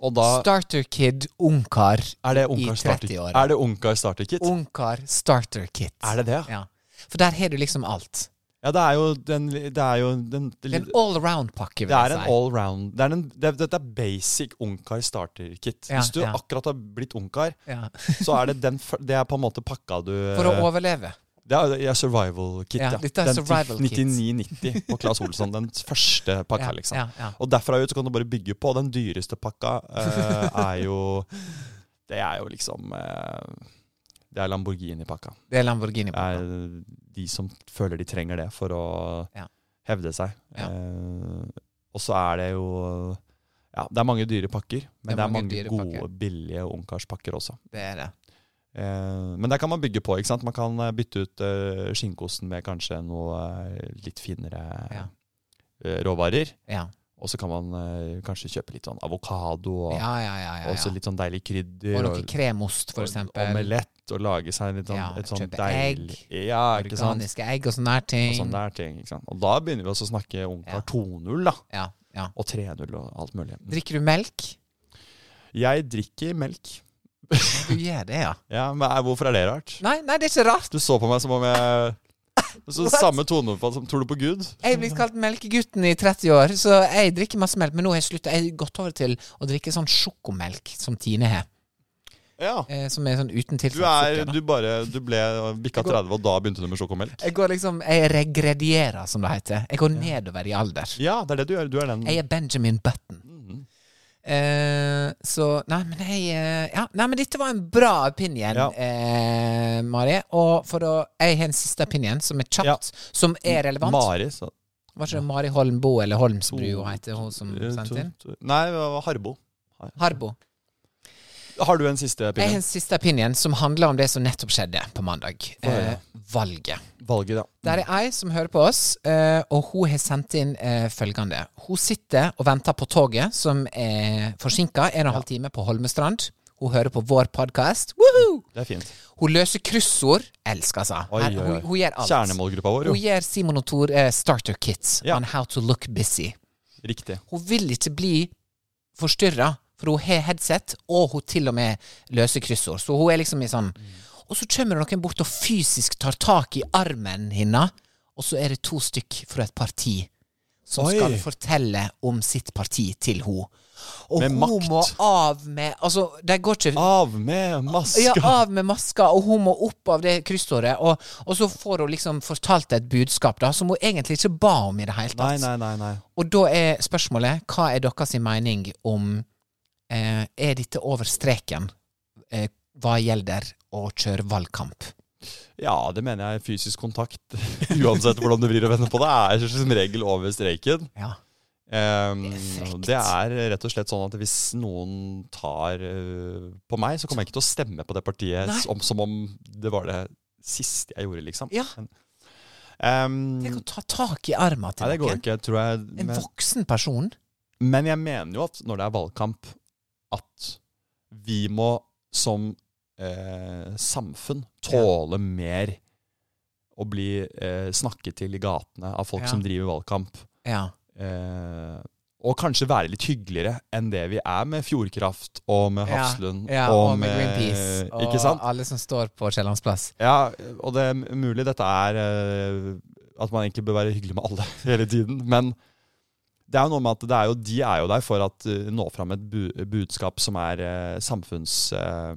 Speaker 1: Og da
Speaker 2: starter kid, ungkar.
Speaker 1: er det
Speaker 2: i
Speaker 1: Ungkar starter
Speaker 2: 30 år.
Speaker 1: Er det Ungkar starter kit?
Speaker 2: Ungkar starter kit.
Speaker 1: Er det det?
Speaker 2: Ja. For der har du liksom alt.
Speaker 1: Ja, det er jo den Det er jo den
Speaker 2: Det er en
Speaker 1: Det,
Speaker 2: all around-pakke, vil
Speaker 1: det er
Speaker 2: jeg
Speaker 1: en
Speaker 2: si.
Speaker 1: allround det er en- det- Dette er basic Ungkar starter kit.
Speaker 2: Ja,
Speaker 1: Hvis du
Speaker 2: ja.
Speaker 1: akkurat har blitt Ungkar,
Speaker 2: Ja.
Speaker 1: så er det den f- Det er på en måte pakka du
Speaker 2: For å overleve.
Speaker 1: Det er, ja, survival kit, ja.
Speaker 2: Ja, dette er
Speaker 1: den
Speaker 2: survival
Speaker 1: til
Speaker 2: kit.
Speaker 1: 99,90 på Claes Olsson. Den første pakka,
Speaker 2: Ja,
Speaker 1: liksom.
Speaker 2: ja, ja.
Speaker 1: Og derfra ut så kan du bare bygge på. Den dyreste pakka eh, er jo Det er jo liksom eh, Det er Lamborghini-pakka.
Speaker 2: Det er Lamborghini.
Speaker 1: Det er de som føler de trenger det for å
Speaker 2: Ja.
Speaker 1: hevde seg.
Speaker 2: Ja.
Speaker 1: Eh, og så er det jo Ja, det er mange dyre pakker, men det er mange,
Speaker 2: dyre
Speaker 1: gode,
Speaker 2: pakker.
Speaker 1: billige ungkarspakker også.
Speaker 2: Det er det.
Speaker 1: Eh, men der kan man bygge på. ikke sant? Man kan eh, bytte ut eh, skinkeosten med kanskje noe eh, litt finere
Speaker 2: Ja.
Speaker 1: eh, råvarer.
Speaker 2: Ja.
Speaker 1: Og så kan man eh, kanskje kjøpe litt sånn avokado og
Speaker 2: Ja, ja, ja. ja,
Speaker 1: også
Speaker 2: ja.
Speaker 1: litt sånn deilig krydder.
Speaker 2: Og noe kremost, for
Speaker 1: og
Speaker 2: eksempel.
Speaker 1: Omelett og lage seg litt sånn,
Speaker 2: Ja,
Speaker 1: et sånn
Speaker 2: kjøpe
Speaker 1: deilig Ja, ikke sant?
Speaker 2: Organiske egg og sånne her ting.
Speaker 1: Og sånn der ting. ikke sant? Og da begynner vi også å snakke
Speaker 2: Ja.
Speaker 1: ungkar 2.0 da,
Speaker 2: Ja, ja.
Speaker 1: og 3.0 og alt mulig.
Speaker 2: Drikker du melk?
Speaker 1: Jeg drikker melk.
Speaker 2: Du gjør det, ja.
Speaker 1: Ja, men eh, Hvorfor er det rart?
Speaker 2: Nei, nei, det er ikke rart.
Speaker 1: Du så på meg som om jeg så
Speaker 2: What?
Speaker 1: Samme tonefall som Tror du på Gud?
Speaker 2: Jeg er blitt kalt melkegutten i 30 år, så jeg drikker masse melk. Men nå har jeg sluttet. Jeg har gått over til å drikke sånn sjokomelk som Tine har.
Speaker 1: Ja.
Speaker 2: Eh, som er sånn uten
Speaker 1: Du,
Speaker 2: tilsatt
Speaker 1: er,
Speaker 2: sukker.
Speaker 1: du,
Speaker 2: da.
Speaker 1: bare, du ble bikka
Speaker 2: Jeg går-
Speaker 1: 30, og da begynte du med sjokomelk?
Speaker 2: Jeg går liksom Jeg regredierer, som det heter. Jeg går nedover i alder.
Speaker 1: Ja, det er det du gjør. Du er den
Speaker 2: Jeg er Benjamin Button.
Speaker 1: Mm.
Speaker 2: Eh, så Nei, men jeg eh, Ja, nei, men dette var en bra opinion,
Speaker 1: Ja.
Speaker 2: eh, Mari. Og for å Jeg har en siste opinion som er kjapt,
Speaker 1: Ja.
Speaker 2: som er relevant.
Speaker 1: Mari. Så.
Speaker 2: Var ikke det Mari Holmbo eller Holmsbru hun heter, hun som
Speaker 1: Eh,
Speaker 2: sendte inn?
Speaker 1: Nei, det var Harbo.
Speaker 2: Harbo.
Speaker 1: Har du en siste
Speaker 2: Jeg har
Speaker 1: opinion?
Speaker 2: en siste opinion som handler om det som nettopp skjedde på mandag.
Speaker 1: Få
Speaker 2: Eh,
Speaker 1: høre.
Speaker 2: valget.
Speaker 1: Valget, ja.
Speaker 2: Der er ei som hører på oss, eh, og hun har sendt inn eh, følgende. Hun sitter og venter på toget, som er forsinka en og en halv time på Holmestrand. Hun hører på vår podkast.
Speaker 1: Det er fint.
Speaker 2: Hun løser kryssord. Elsker, altså.
Speaker 1: Oi,
Speaker 2: Her-
Speaker 1: oi,
Speaker 2: Hun,
Speaker 1: oi.
Speaker 2: hun gjør alt.
Speaker 1: Kjernemålgruppa vår, jo.
Speaker 2: Hun gjør Simon og Tor eh, starter kits
Speaker 1: Ja.
Speaker 2: on how to look busy.
Speaker 1: Riktig.
Speaker 2: Hun vil ikke bli forstyrra, for hun har headset, og hun til og med løser kryssord. Så hun er liksom i sånn Og så kommer det noen bort og fysisk tar tak i armen hennes, og så er det to stykk fra et parti som
Speaker 1: Oi.
Speaker 2: skal fortelle om sitt parti til henne. Og
Speaker 1: Med
Speaker 2: hun
Speaker 1: makt.
Speaker 2: må av med Altså, de går ikke
Speaker 1: Av med maska!
Speaker 2: ja, av med maska, og hun må opp av det kryssordet. Og, og så får hun liksom fortalt et budskap da, som hun egentlig ikke ba om i det hele
Speaker 1: Nei,
Speaker 2: tatt.
Speaker 1: nei, nei. nei.
Speaker 2: Og da er spørsmålet, hva er deres mening om eh, Er dette over streken eh, hva gjelder å kjøre valgkamp?
Speaker 1: Ja, det mener jeg. Fysisk kontakt, uansett hvordan du vrir og vender på det, er som regel over streiken.
Speaker 2: Ja.
Speaker 1: Ehm,
Speaker 2: Det er frekt.
Speaker 1: det er rett og slett sånn at hvis noen tar eh, på meg, så kommer jeg ikke til å stemme på det partiet
Speaker 2: Nei.
Speaker 1: som, som om det var det siste jeg gjorde, liksom.
Speaker 2: Ja.
Speaker 1: Men, ehm,
Speaker 2: Tenk å ta tak i armen til
Speaker 1: nei, det går
Speaker 2: noen.
Speaker 1: ikke, tror jeg.
Speaker 2: En
Speaker 1: Men,
Speaker 2: voksen person.
Speaker 1: men jeg mener jo at når det er valgkamp, at vi må som eh, samfunn tåle mer å bli eh, snakket til i gatene av folk
Speaker 2: Ja.
Speaker 1: som driver valgkamp.
Speaker 2: Ja.
Speaker 1: Eh, og kanskje være litt hyggeligere enn det vi er med Fjordkraft og med Hafslund.
Speaker 2: ja, ja, og, med Greenpeace. Og
Speaker 1: Ikke sant?
Speaker 2: alle som står på Kiellandsplass.
Speaker 1: Ja, og det er mulig dette er eh, At man egentlig bør være hyggelig med alle hele tiden. Men det er jo noe med at det er jo, de er jo der for å nå fram et bu budskap som er eh, samfunns... eh,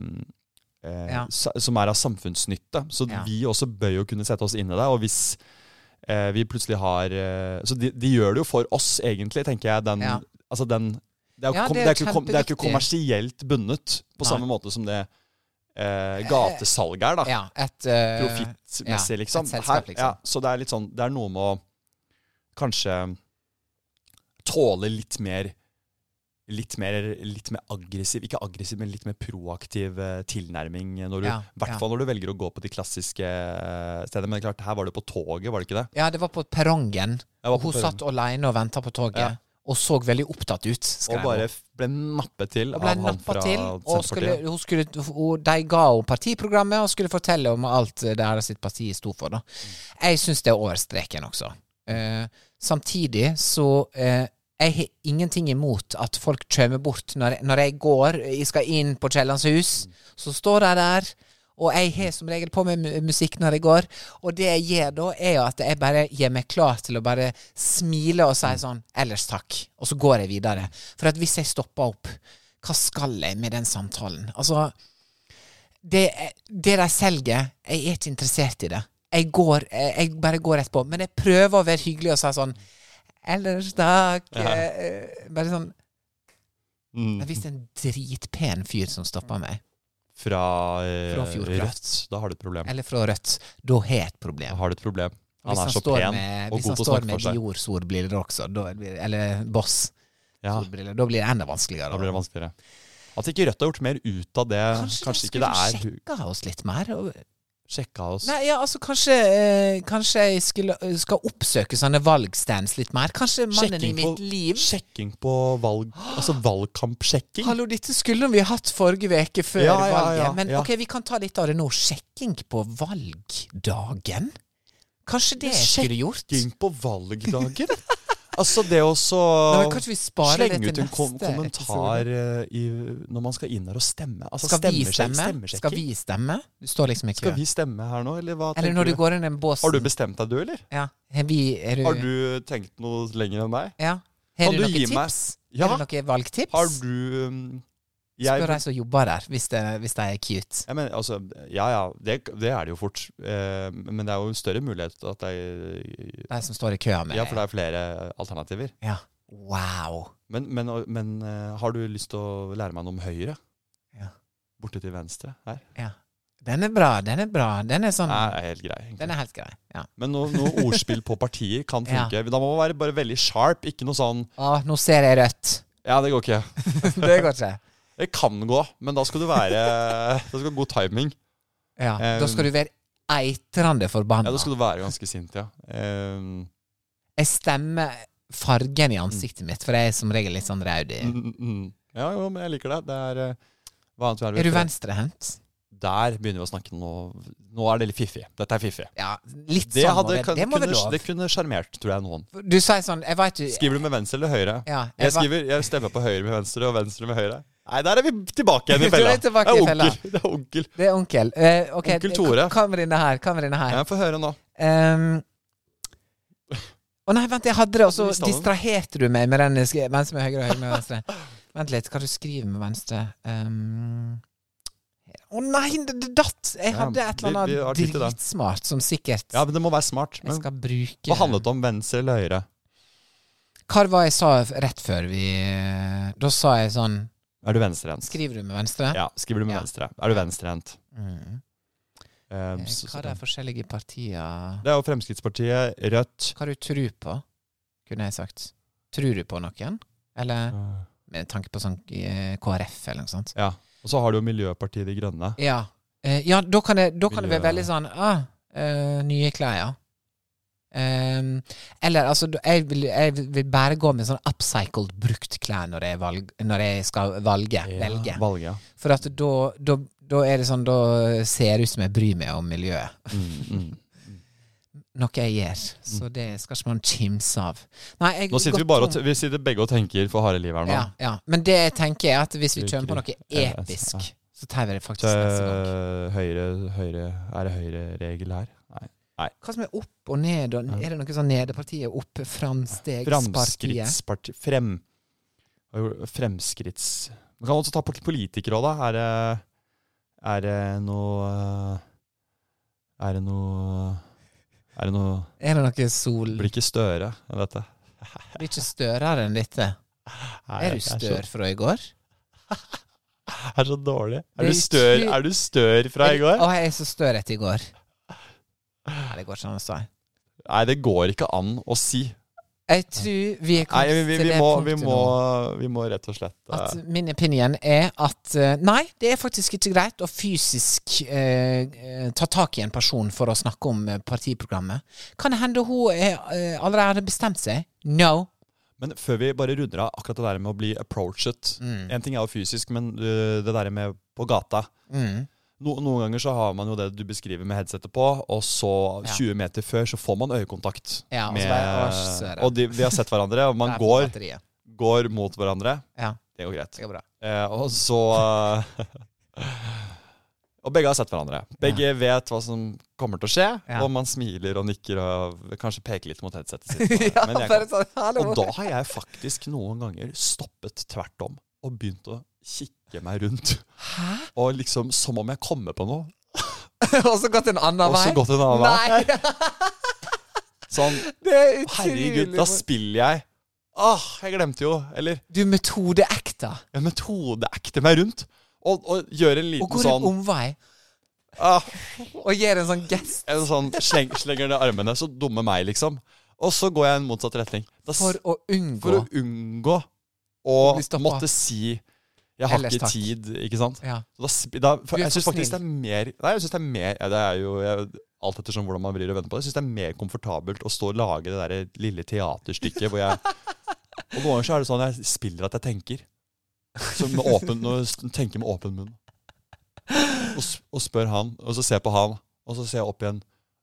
Speaker 1: eh,
Speaker 2: Ja.
Speaker 1: sa- Som er av samfunnsnytte. Så
Speaker 2: Ja.
Speaker 1: vi også bør jo kunne sette oss inn i det. Og hvis eh, vi plutselig har eh, Så de, de gjør det jo for oss, egentlig, tenker jeg. Den,
Speaker 2: Ja.
Speaker 1: altså den det er, jo
Speaker 2: Ja,
Speaker 1: kom,
Speaker 2: det
Speaker 1: det,
Speaker 2: er
Speaker 1: er ikke, kom, det er ikke
Speaker 2: kjempeviktig.
Speaker 1: kommersielt bundet på
Speaker 2: Nei.
Speaker 1: samme måte som det eh, gatesalget er, da
Speaker 2: Ja, et eh,
Speaker 1: profittmessig,
Speaker 2: ja,
Speaker 1: liksom.
Speaker 2: et selskap,
Speaker 1: Her-
Speaker 2: liksom.
Speaker 1: Ja, så det er litt sånn Det er noe med å kanskje tåle litt mer Litt mer, litt mer aggressiv, ikke aggressiv, men litt mer proaktiv eh, tilnærming. I
Speaker 2: Ja,
Speaker 1: hvert
Speaker 2: ja.
Speaker 1: fall når du velger å gå på de klassiske eh, stedene. Men det er klart, her var det på toget, var det ikke det?
Speaker 2: Ja, det var på perrongen.
Speaker 1: Jeg var
Speaker 2: Og
Speaker 1: på
Speaker 2: hun
Speaker 1: perrongen.
Speaker 2: satt alene og venta på toget.
Speaker 1: Ja.
Speaker 2: Og så veldig opptatt ut. skrev
Speaker 1: Og bare
Speaker 2: hun.
Speaker 1: f- ble nappet til
Speaker 2: Og ble
Speaker 1: av han
Speaker 2: nappa
Speaker 1: fra
Speaker 2: til. Og skulle,
Speaker 1: Senterpartiet.
Speaker 2: hun skulle, hun, de ga henne partiprogrammet og skulle fortelle om alt det her sitt parti sto for. Da. Jeg syns det er over streken også. Eh, samtidig så eh, jeg har ingenting imot at folk kommer bort når, når jeg går, jeg skal inn på Kiellands hus, så står de der. Og jeg har som regel på meg mu- musikk når jeg går, og det jeg gjør da, er jo at jeg bare gjør meg klar til å bare smile og si sånn 'ellers takk', og så går jeg videre. For at hvis jeg stopper opp, hva skal jeg med den samtalen? Altså, det, det de selger, jeg er ikke interessert i det. Jeg går, jeg, jeg bare går rett på. Men jeg prøver å være hyggelig og si sånn Ellers takk. eh, Bare sånn
Speaker 1: Mm.
Speaker 2: Det er visst en dritpen fyr som stopper meg.
Speaker 1: Fra, eh,
Speaker 2: Fra Fjordkraft.
Speaker 1: Rødt. Da har du et problem.
Speaker 2: Eller fra Rødt. Da har jeg et problem.
Speaker 1: Da har du et problem.
Speaker 2: Hvis
Speaker 1: Han er så
Speaker 2: står
Speaker 1: pen
Speaker 2: med-
Speaker 1: og
Speaker 2: Hvis
Speaker 1: god
Speaker 2: han
Speaker 1: til å
Speaker 2: står
Speaker 1: snakke
Speaker 2: med
Speaker 1: for seg.
Speaker 2: Dior-solbriller også, da, blir- eller Boss-solbriller,
Speaker 1: Ja.
Speaker 2: da blir det enda vanskeligere.
Speaker 1: Da blir det vanskeligere. At ikke Rødt har gjort mer ut av det. Kanskje,
Speaker 2: Kanskje,
Speaker 1: ikke det er
Speaker 2: skulle sjekka oss litt mer? Og,
Speaker 1: Sjekka oss.
Speaker 2: nei, ja, altså kanskje eh, Kanskje jeg skulle, eh, skal oppsøke sånne valgstands litt mer? Kanskje mannen i mitt liv
Speaker 1: sjekking på valg... Altså valgkampsjekking.
Speaker 2: Hallo, dette skulle vi hatt forrige uke før
Speaker 1: Ja, ja,
Speaker 2: valget.
Speaker 1: ja,
Speaker 2: men
Speaker 1: ja.
Speaker 2: ok, vi kan ta litt av det nå. Sjekking på valgdagen? Kanskje det jeg skulle gjort?
Speaker 1: Sjekking på valgdagen? altså det å så
Speaker 2: Nei, men kanskje vi sparer det
Speaker 1: slenge ut
Speaker 2: til
Speaker 1: en kom
Speaker 2: neste
Speaker 1: kommentar eh, i, når man skal inn her og stemme. Altså,
Speaker 2: Skal vi
Speaker 1: stemmesjekk-
Speaker 2: stemme?
Speaker 1: stemmesjekking.
Speaker 2: Skal vi stemme? Du står liksom i kø.
Speaker 1: Skal vi stemme her nå, eller hva
Speaker 2: Eller
Speaker 1: tenker
Speaker 2: når du går Eh. inn i den båsen
Speaker 1: Har du bestemt deg, du, eller?
Speaker 2: Ja. Har vi er du,
Speaker 1: Har du tenkt noe lenger enn meg?
Speaker 2: Ja. Har
Speaker 1: Kan
Speaker 2: du
Speaker 1: du
Speaker 2: noen
Speaker 1: gi meg-
Speaker 2: tips?
Speaker 1: Ja.
Speaker 2: Har du noen valgtips?
Speaker 1: Har du um, jeg,
Speaker 2: Spør de som jobber der, hvis, det, hvis de er cute.
Speaker 1: Ja, men, altså, ja, ja det, det er det jo fort. Eh, men det er jo større mulighet til at jeg
Speaker 2: De som står i køa med
Speaker 1: Ja, for det er flere alternativer.
Speaker 2: Ja. Wow.
Speaker 1: Men, men, men eh, har du lyst til å lære meg noe om høyre?
Speaker 2: Ja.
Speaker 1: Borte til venstre her?
Speaker 2: Ja. Den er bra, den er bra. Den er sånn
Speaker 1: Nei, det er helt grei. egentlig.
Speaker 2: Den er helt grei. Ja.
Speaker 1: Men noe, noe ordspill på partier kan funke. Da må man være bare veldig sharp, ikke noe sånn
Speaker 2: Å, nå ser jeg rødt.
Speaker 1: Ja, det går ikke.
Speaker 2: det går ikke.
Speaker 1: Det kan gå, men da skal du være Da skal du ha god timing.
Speaker 2: Ja.
Speaker 1: Eh,
Speaker 2: da skal du være eitrende
Speaker 1: Ja,
Speaker 2: forbanna.
Speaker 1: da skal du være ganske sint, ja. Eh,
Speaker 2: Jeg stemmer fargen i ansiktet mitt, for jeg er som regel litt sånn raud i
Speaker 1: mm, mm, mm. Ja, jo, men jeg liker det. Det er eh, Hva annet vi
Speaker 2: Er du
Speaker 1: for?
Speaker 2: venstrehendt?
Speaker 1: Der begynner vi å snakke nå. Nå er det litt fiffig. Dette er fiffig.
Speaker 2: Ja, litt
Speaker 1: Det,
Speaker 2: sånn. må
Speaker 1: hadde,
Speaker 2: være-
Speaker 1: kan,
Speaker 2: det må være
Speaker 1: kunne,
Speaker 2: lov.
Speaker 1: det kunne sjarmert, tror jeg, noen.
Speaker 2: Du sier sånn Jeg veit du
Speaker 1: Skriver du med venstre eller høyre?
Speaker 2: Ja, jeg
Speaker 1: jeg,
Speaker 2: var-
Speaker 1: skriver, jeg stemmer på høyre med venstre og venstre med høyre. Nei, der er vi tilbake igjen i
Speaker 2: Du er
Speaker 1: fella.
Speaker 2: tilbake i fella.
Speaker 1: onkel. Det er onkel.
Speaker 2: Det er onkel. Eh, ok,
Speaker 1: Onkel Tore.
Speaker 2: Kameraene her. Kameraene her.
Speaker 1: Jeg får høre nå.
Speaker 2: Ehm, Å nei, vent, jeg hadde det, og så
Speaker 1: Mista den.
Speaker 2: distraherte du meg med den jeg skrev- venstre med høyre og høyre med venstre. Vent litt, hva du skriver med venstre? Um, Å nei, det, det datt! Jeg
Speaker 1: Ja,
Speaker 2: hadde et
Speaker 1: vi-
Speaker 2: eller
Speaker 1: vi har
Speaker 2: annet
Speaker 1: tid til det.
Speaker 2: dritsmart som sikkert
Speaker 1: Ja, men det må være smart.
Speaker 2: jeg
Speaker 1: Men
Speaker 2: skal bruke.
Speaker 1: hva handlet det om? Venstre eller høyre?
Speaker 2: Hva var jeg sa rett før vi Da sa jeg sånn
Speaker 1: Er du venstrehendt?
Speaker 2: Skriver du med venstre?
Speaker 1: Ja, skriver du med
Speaker 2: Ja.
Speaker 1: venstre. Er du venstrehendt?
Speaker 2: Mm.
Speaker 1: Um,
Speaker 2: Eh,
Speaker 1: så-
Speaker 2: Hva er det forskjellige partier
Speaker 1: det er jo Fremskrittspartiet, Rødt
Speaker 2: Hva du tror på, kunne jeg sagt. Tror du på noen? Eller med tanke på sånn eh, KrF eller noe sånt.
Speaker 1: Ja. Og så har du jo Miljøpartiet De Grønne.
Speaker 2: Ja, eh, ja da kan det, da kan det være
Speaker 1: Miljø-
Speaker 2: veldig sånn ah, eh, Nye klær, ja. Ehm, eller altså, da- jeg vil, jeg vil bare gå med sånn upcycled brukt klær når jeg, valg, når jeg skal valge, velge.
Speaker 1: Valget, ja.
Speaker 2: For at da, da, da er det sånn Da ser det ut som jeg bryr meg om miljøet.
Speaker 1: Mm, mm.
Speaker 2: Noe jeg gjør. Så det skal ikke man kimse av. Nei, jeg,
Speaker 1: Nå sitter vi
Speaker 2: godt
Speaker 1: bare og
Speaker 2: om-
Speaker 1: t- vi sitter begge og tenker for harde liv her nå.
Speaker 2: ja, ja. Men det jeg tenker er at hvis vi
Speaker 1: Bruker
Speaker 2: kjører på noe
Speaker 1: de- Ja,
Speaker 2: episk,
Speaker 1: ja.
Speaker 2: så tar vi det faktisk neste gang.
Speaker 1: Tø- eh, Høyre, høyre Er det høyreregel her? Nei.
Speaker 2: Hva som er opp og ned? Og, er det noe sånn nedepartiet? Opp, Framstegspartiet?
Speaker 1: Fremskrittspartiet Frem Hva gjorde- Fremskritts Man kan også ta pol- politikere òg, da. Er det, er det noe eh, Er det noe Er det noe
Speaker 2: Er det noe sol?
Speaker 1: Blir ikke større enn dette.
Speaker 2: Blir ikke størere enn dette?
Speaker 1: Nei,
Speaker 2: Er du
Speaker 1: jeg så-
Speaker 2: stør fra i går?
Speaker 1: Jeg er så dårlig. Er
Speaker 2: Det
Speaker 1: du
Speaker 2: er
Speaker 1: stør,
Speaker 2: utro-
Speaker 1: er du stør fra i går?
Speaker 2: Å, jeg er så stør etter i går. Nei, det går ikke an å si.
Speaker 1: Nei, det går ikke an å si.
Speaker 2: Jeg tror vi er
Speaker 1: Nei,
Speaker 2: kommet
Speaker 1: vi, vi,
Speaker 2: til
Speaker 1: vi,
Speaker 2: det
Speaker 1: må, vi,
Speaker 2: punktet nå.
Speaker 1: må, eh, vi må rett og slett eh,
Speaker 2: At min opinion er at eh, nei, det er faktisk ikke greit å fysisk eh, eh, ta tak i en person for å snakke om eh, partiprogrammet. Kan det hende hun er, eh, allerede hadde bestemt seg? No.
Speaker 1: Men før vi bare runder av akkurat det der med å bli approached En ting er jo fysisk, men øh, det der med på gata
Speaker 2: Mm.
Speaker 1: no, Noen ganger så har man jo det du beskriver med headsetet på, og så
Speaker 2: Ja.
Speaker 1: 20 meter før så får man øyekontakt.
Speaker 2: Ja, og så
Speaker 1: med,
Speaker 2: bare, «Å, søren».
Speaker 1: og de, de har sett hverandre, og man
Speaker 2: Der får
Speaker 1: går,
Speaker 2: batteriet.
Speaker 1: går mot hverandre.
Speaker 2: Ja,
Speaker 1: Det går greit.
Speaker 2: det går bra.
Speaker 1: Eh, og så eh, Og begge har sett hverandre. Begge vet hva som kommer til å skje,
Speaker 2: Ja.
Speaker 1: og man smiler og nikker og kanskje peker litt mot headsetet sitt.
Speaker 2: ja,
Speaker 1: Men jeg
Speaker 2: bare
Speaker 1: kan-
Speaker 2: sånn, hallo.
Speaker 1: og da har jeg faktisk noen ganger stoppet tvert om og begynt å kikke meg rundt.
Speaker 2: Hæ?
Speaker 1: Og liksom som om jeg kommer på noe.
Speaker 2: og så gått en annen
Speaker 1: Og
Speaker 2: vei?
Speaker 1: så gått en annen vei.
Speaker 2: Nei,
Speaker 1: Sånn
Speaker 2: det er utrolig
Speaker 1: Herregud, da spiller jeg. Åh, jeg glemte jo. Eller
Speaker 2: Du metodeekta.
Speaker 1: jeg metodeekter meg rundt. Og, og gjør en
Speaker 2: Og
Speaker 1: liten
Speaker 2: går en
Speaker 1: sånn
Speaker 2: omvei
Speaker 1: ah,
Speaker 2: og gir en sånn gest
Speaker 1: En sånn sleng, slenger ned armene. Så dumme meg, liksom. Og så går jeg i en motsatt retning. Da, s-
Speaker 2: for å unngå
Speaker 1: for å unngå å
Speaker 2: bli stoppet.
Speaker 1: måtte si 'jeg har
Speaker 2: Ellers
Speaker 1: ikke
Speaker 2: takk.
Speaker 1: tid', ikke sant?
Speaker 2: ja.
Speaker 1: Så Da, sp- da, for,
Speaker 2: Du er
Speaker 1: jeg
Speaker 2: for
Speaker 1: syns faktisk det
Speaker 2: snill.
Speaker 1: er mer Nei, jeg synes det er mer ja, Det er jo jeg, alt ettersom hvordan man vrir og vender på det. Jeg syns det er mer komfortabelt å stå og lage det der lille teaterstykket hvor jeg Og noen ganger så er det sånn jeg spiller at jeg tenker. Så med åpen, når jeg s- tenker med åpen munn. Og, s- og spør han, og så ser jeg på han, og så ser jeg opp igjen.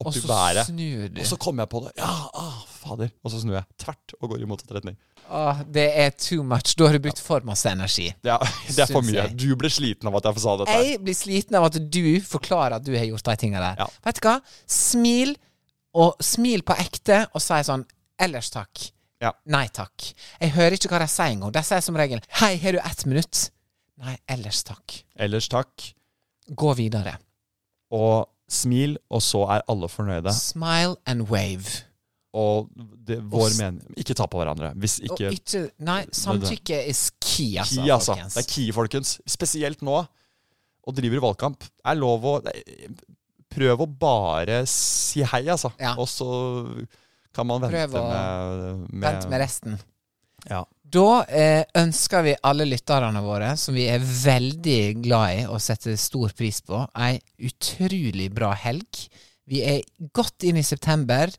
Speaker 2: Og
Speaker 1: Opp i
Speaker 2: så
Speaker 1: været.
Speaker 2: snur du.
Speaker 1: Og så kommer jeg på det. Ja, ah, fader. Og så snur jeg tvert og går i motsatt retning.
Speaker 2: Åh, det er too much. Da har du brukt for masse energi.
Speaker 1: Det er, det er for
Speaker 2: Syns
Speaker 1: mye.
Speaker 2: jeg.
Speaker 1: Du ble sliten av at jeg sa dette. her.
Speaker 2: Jeg blir sliten av at du forklarer at du har gjort de tinga der.
Speaker 1: Ja.
Speaker 2: Vet du hva? Smil, og smil på ekte, og si sånn Ellers takk.
Speaker 1: Ja.
Speaker 2: Nei takk. Jeg hører ikke hva de sier engang. De sier som regel Hei, har du ett minutt? Nei, ellers takk.
Speaker 1: Ellers takk.
Speaker 2: Gå videre.
Speaker 1: og smil, og så er alle fornøyde.
Speaker 2: Smile and wave.
Speaker 1: Og det,
Speaker 2: Og
Speaker 1: vår
Speaker 2: s-
Speaker 1: mening Ikke ta på hverandre. Hvis ikke
Speaker 2: Og ikke Nei, samtykke is key, altså,
Speaker 1: Ki, altså.
Speaker 2: folkens.
Speaker 1: Det er ki, folkens. Spesielt nå. Og driver i valgkamp. Det er lov å det- Prøv å bare si hei, altså.
Speaker 2: Ja.
Speaker 1: Og så kan man vente
Speaker 2: Prøv å-
Speaker 1: med, med
Speaker 2: Vent med resten.
Speaker 1: Ja.
Speaker 2: Da eh, ønsker vi alle lytterne våre, som vi er veldig glad i og setter stor pris på, ei utrolig bra helg. Vi er godt inn i september.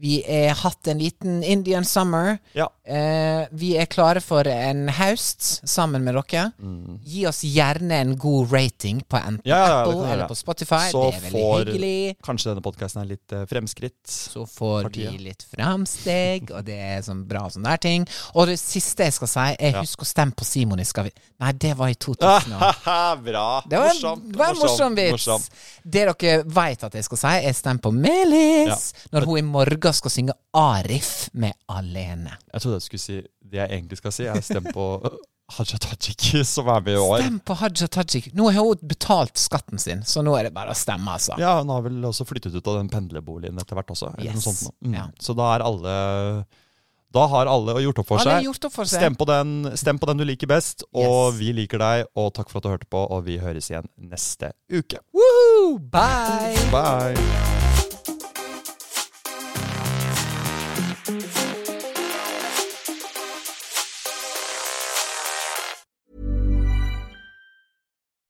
Speaker 2: Vi har hatt en liten Indian summer.
Speaker 1: Ja.
Speaker 2: Eh, vi er klare for en haust sammen med dere. Gi oss gjerne en god rating på enten
Speaker 1: Mm. Ja, ja, ja, det kan
Speaker 2: Apple
Speaker 1: vi
Speaker 2: eller
Speaker 1: gjøre.
Speaker 2: på Spotify.
Speaker 1: Så
Speaker 2: det er veldig
Speaker 1: får
Speaker 2: hyggelig.
Speaker 1: kanskje denne podkasten her litt eh, fremskritt.
Speaker 2: Så får
Speaker 1: partiet.
Speaker 2: vi litt framsteg, og det er sånn bra sånne der ting. Og det siste jeg skal si, er husk å stemme på Simon i Skal vi Nei, det var i 2000. og-
Speaker 1: Bra!
Speaker 2: Sånn, Det var, en- det var en morsom vits. Det dere veit at jeg skal si, er stem på Melis når hun i morgen skal synge Arif med Alene.
Speaker 1: Jeg trodde jeg skulle si det jeg egentlig skal si. Jeg stemmer på Haja Tajik, som er med i år.
Speaker 2: Stem på Haja Tajik. Nå har hun betalt skatten sin, så nå er det bare å stemme, altså.
Speaker 1: Ja, hun har vel også flyttet ut av den pendlerboligen etter hvert også. Eller
Speaker 2: Yes.
Speaker 1: noe sånt nå. Mm.
Speaker 2: Ja.
Speaker 1: Så da er alle Da har alle gjort opp for
Speaker 2: Alle har
Speaker 1: seg.
Speaker 2: gjort opp for seg.
Speaker 1: Stem på den, stem på den du liker best, og
Speaker 2: Yes.
Speaker 1: vi liker deg. Og takk for at du hørte på, og vi høres igjen neste uke.
Speaker 2: Woohoo! Bye!
Speaker 1: Bye!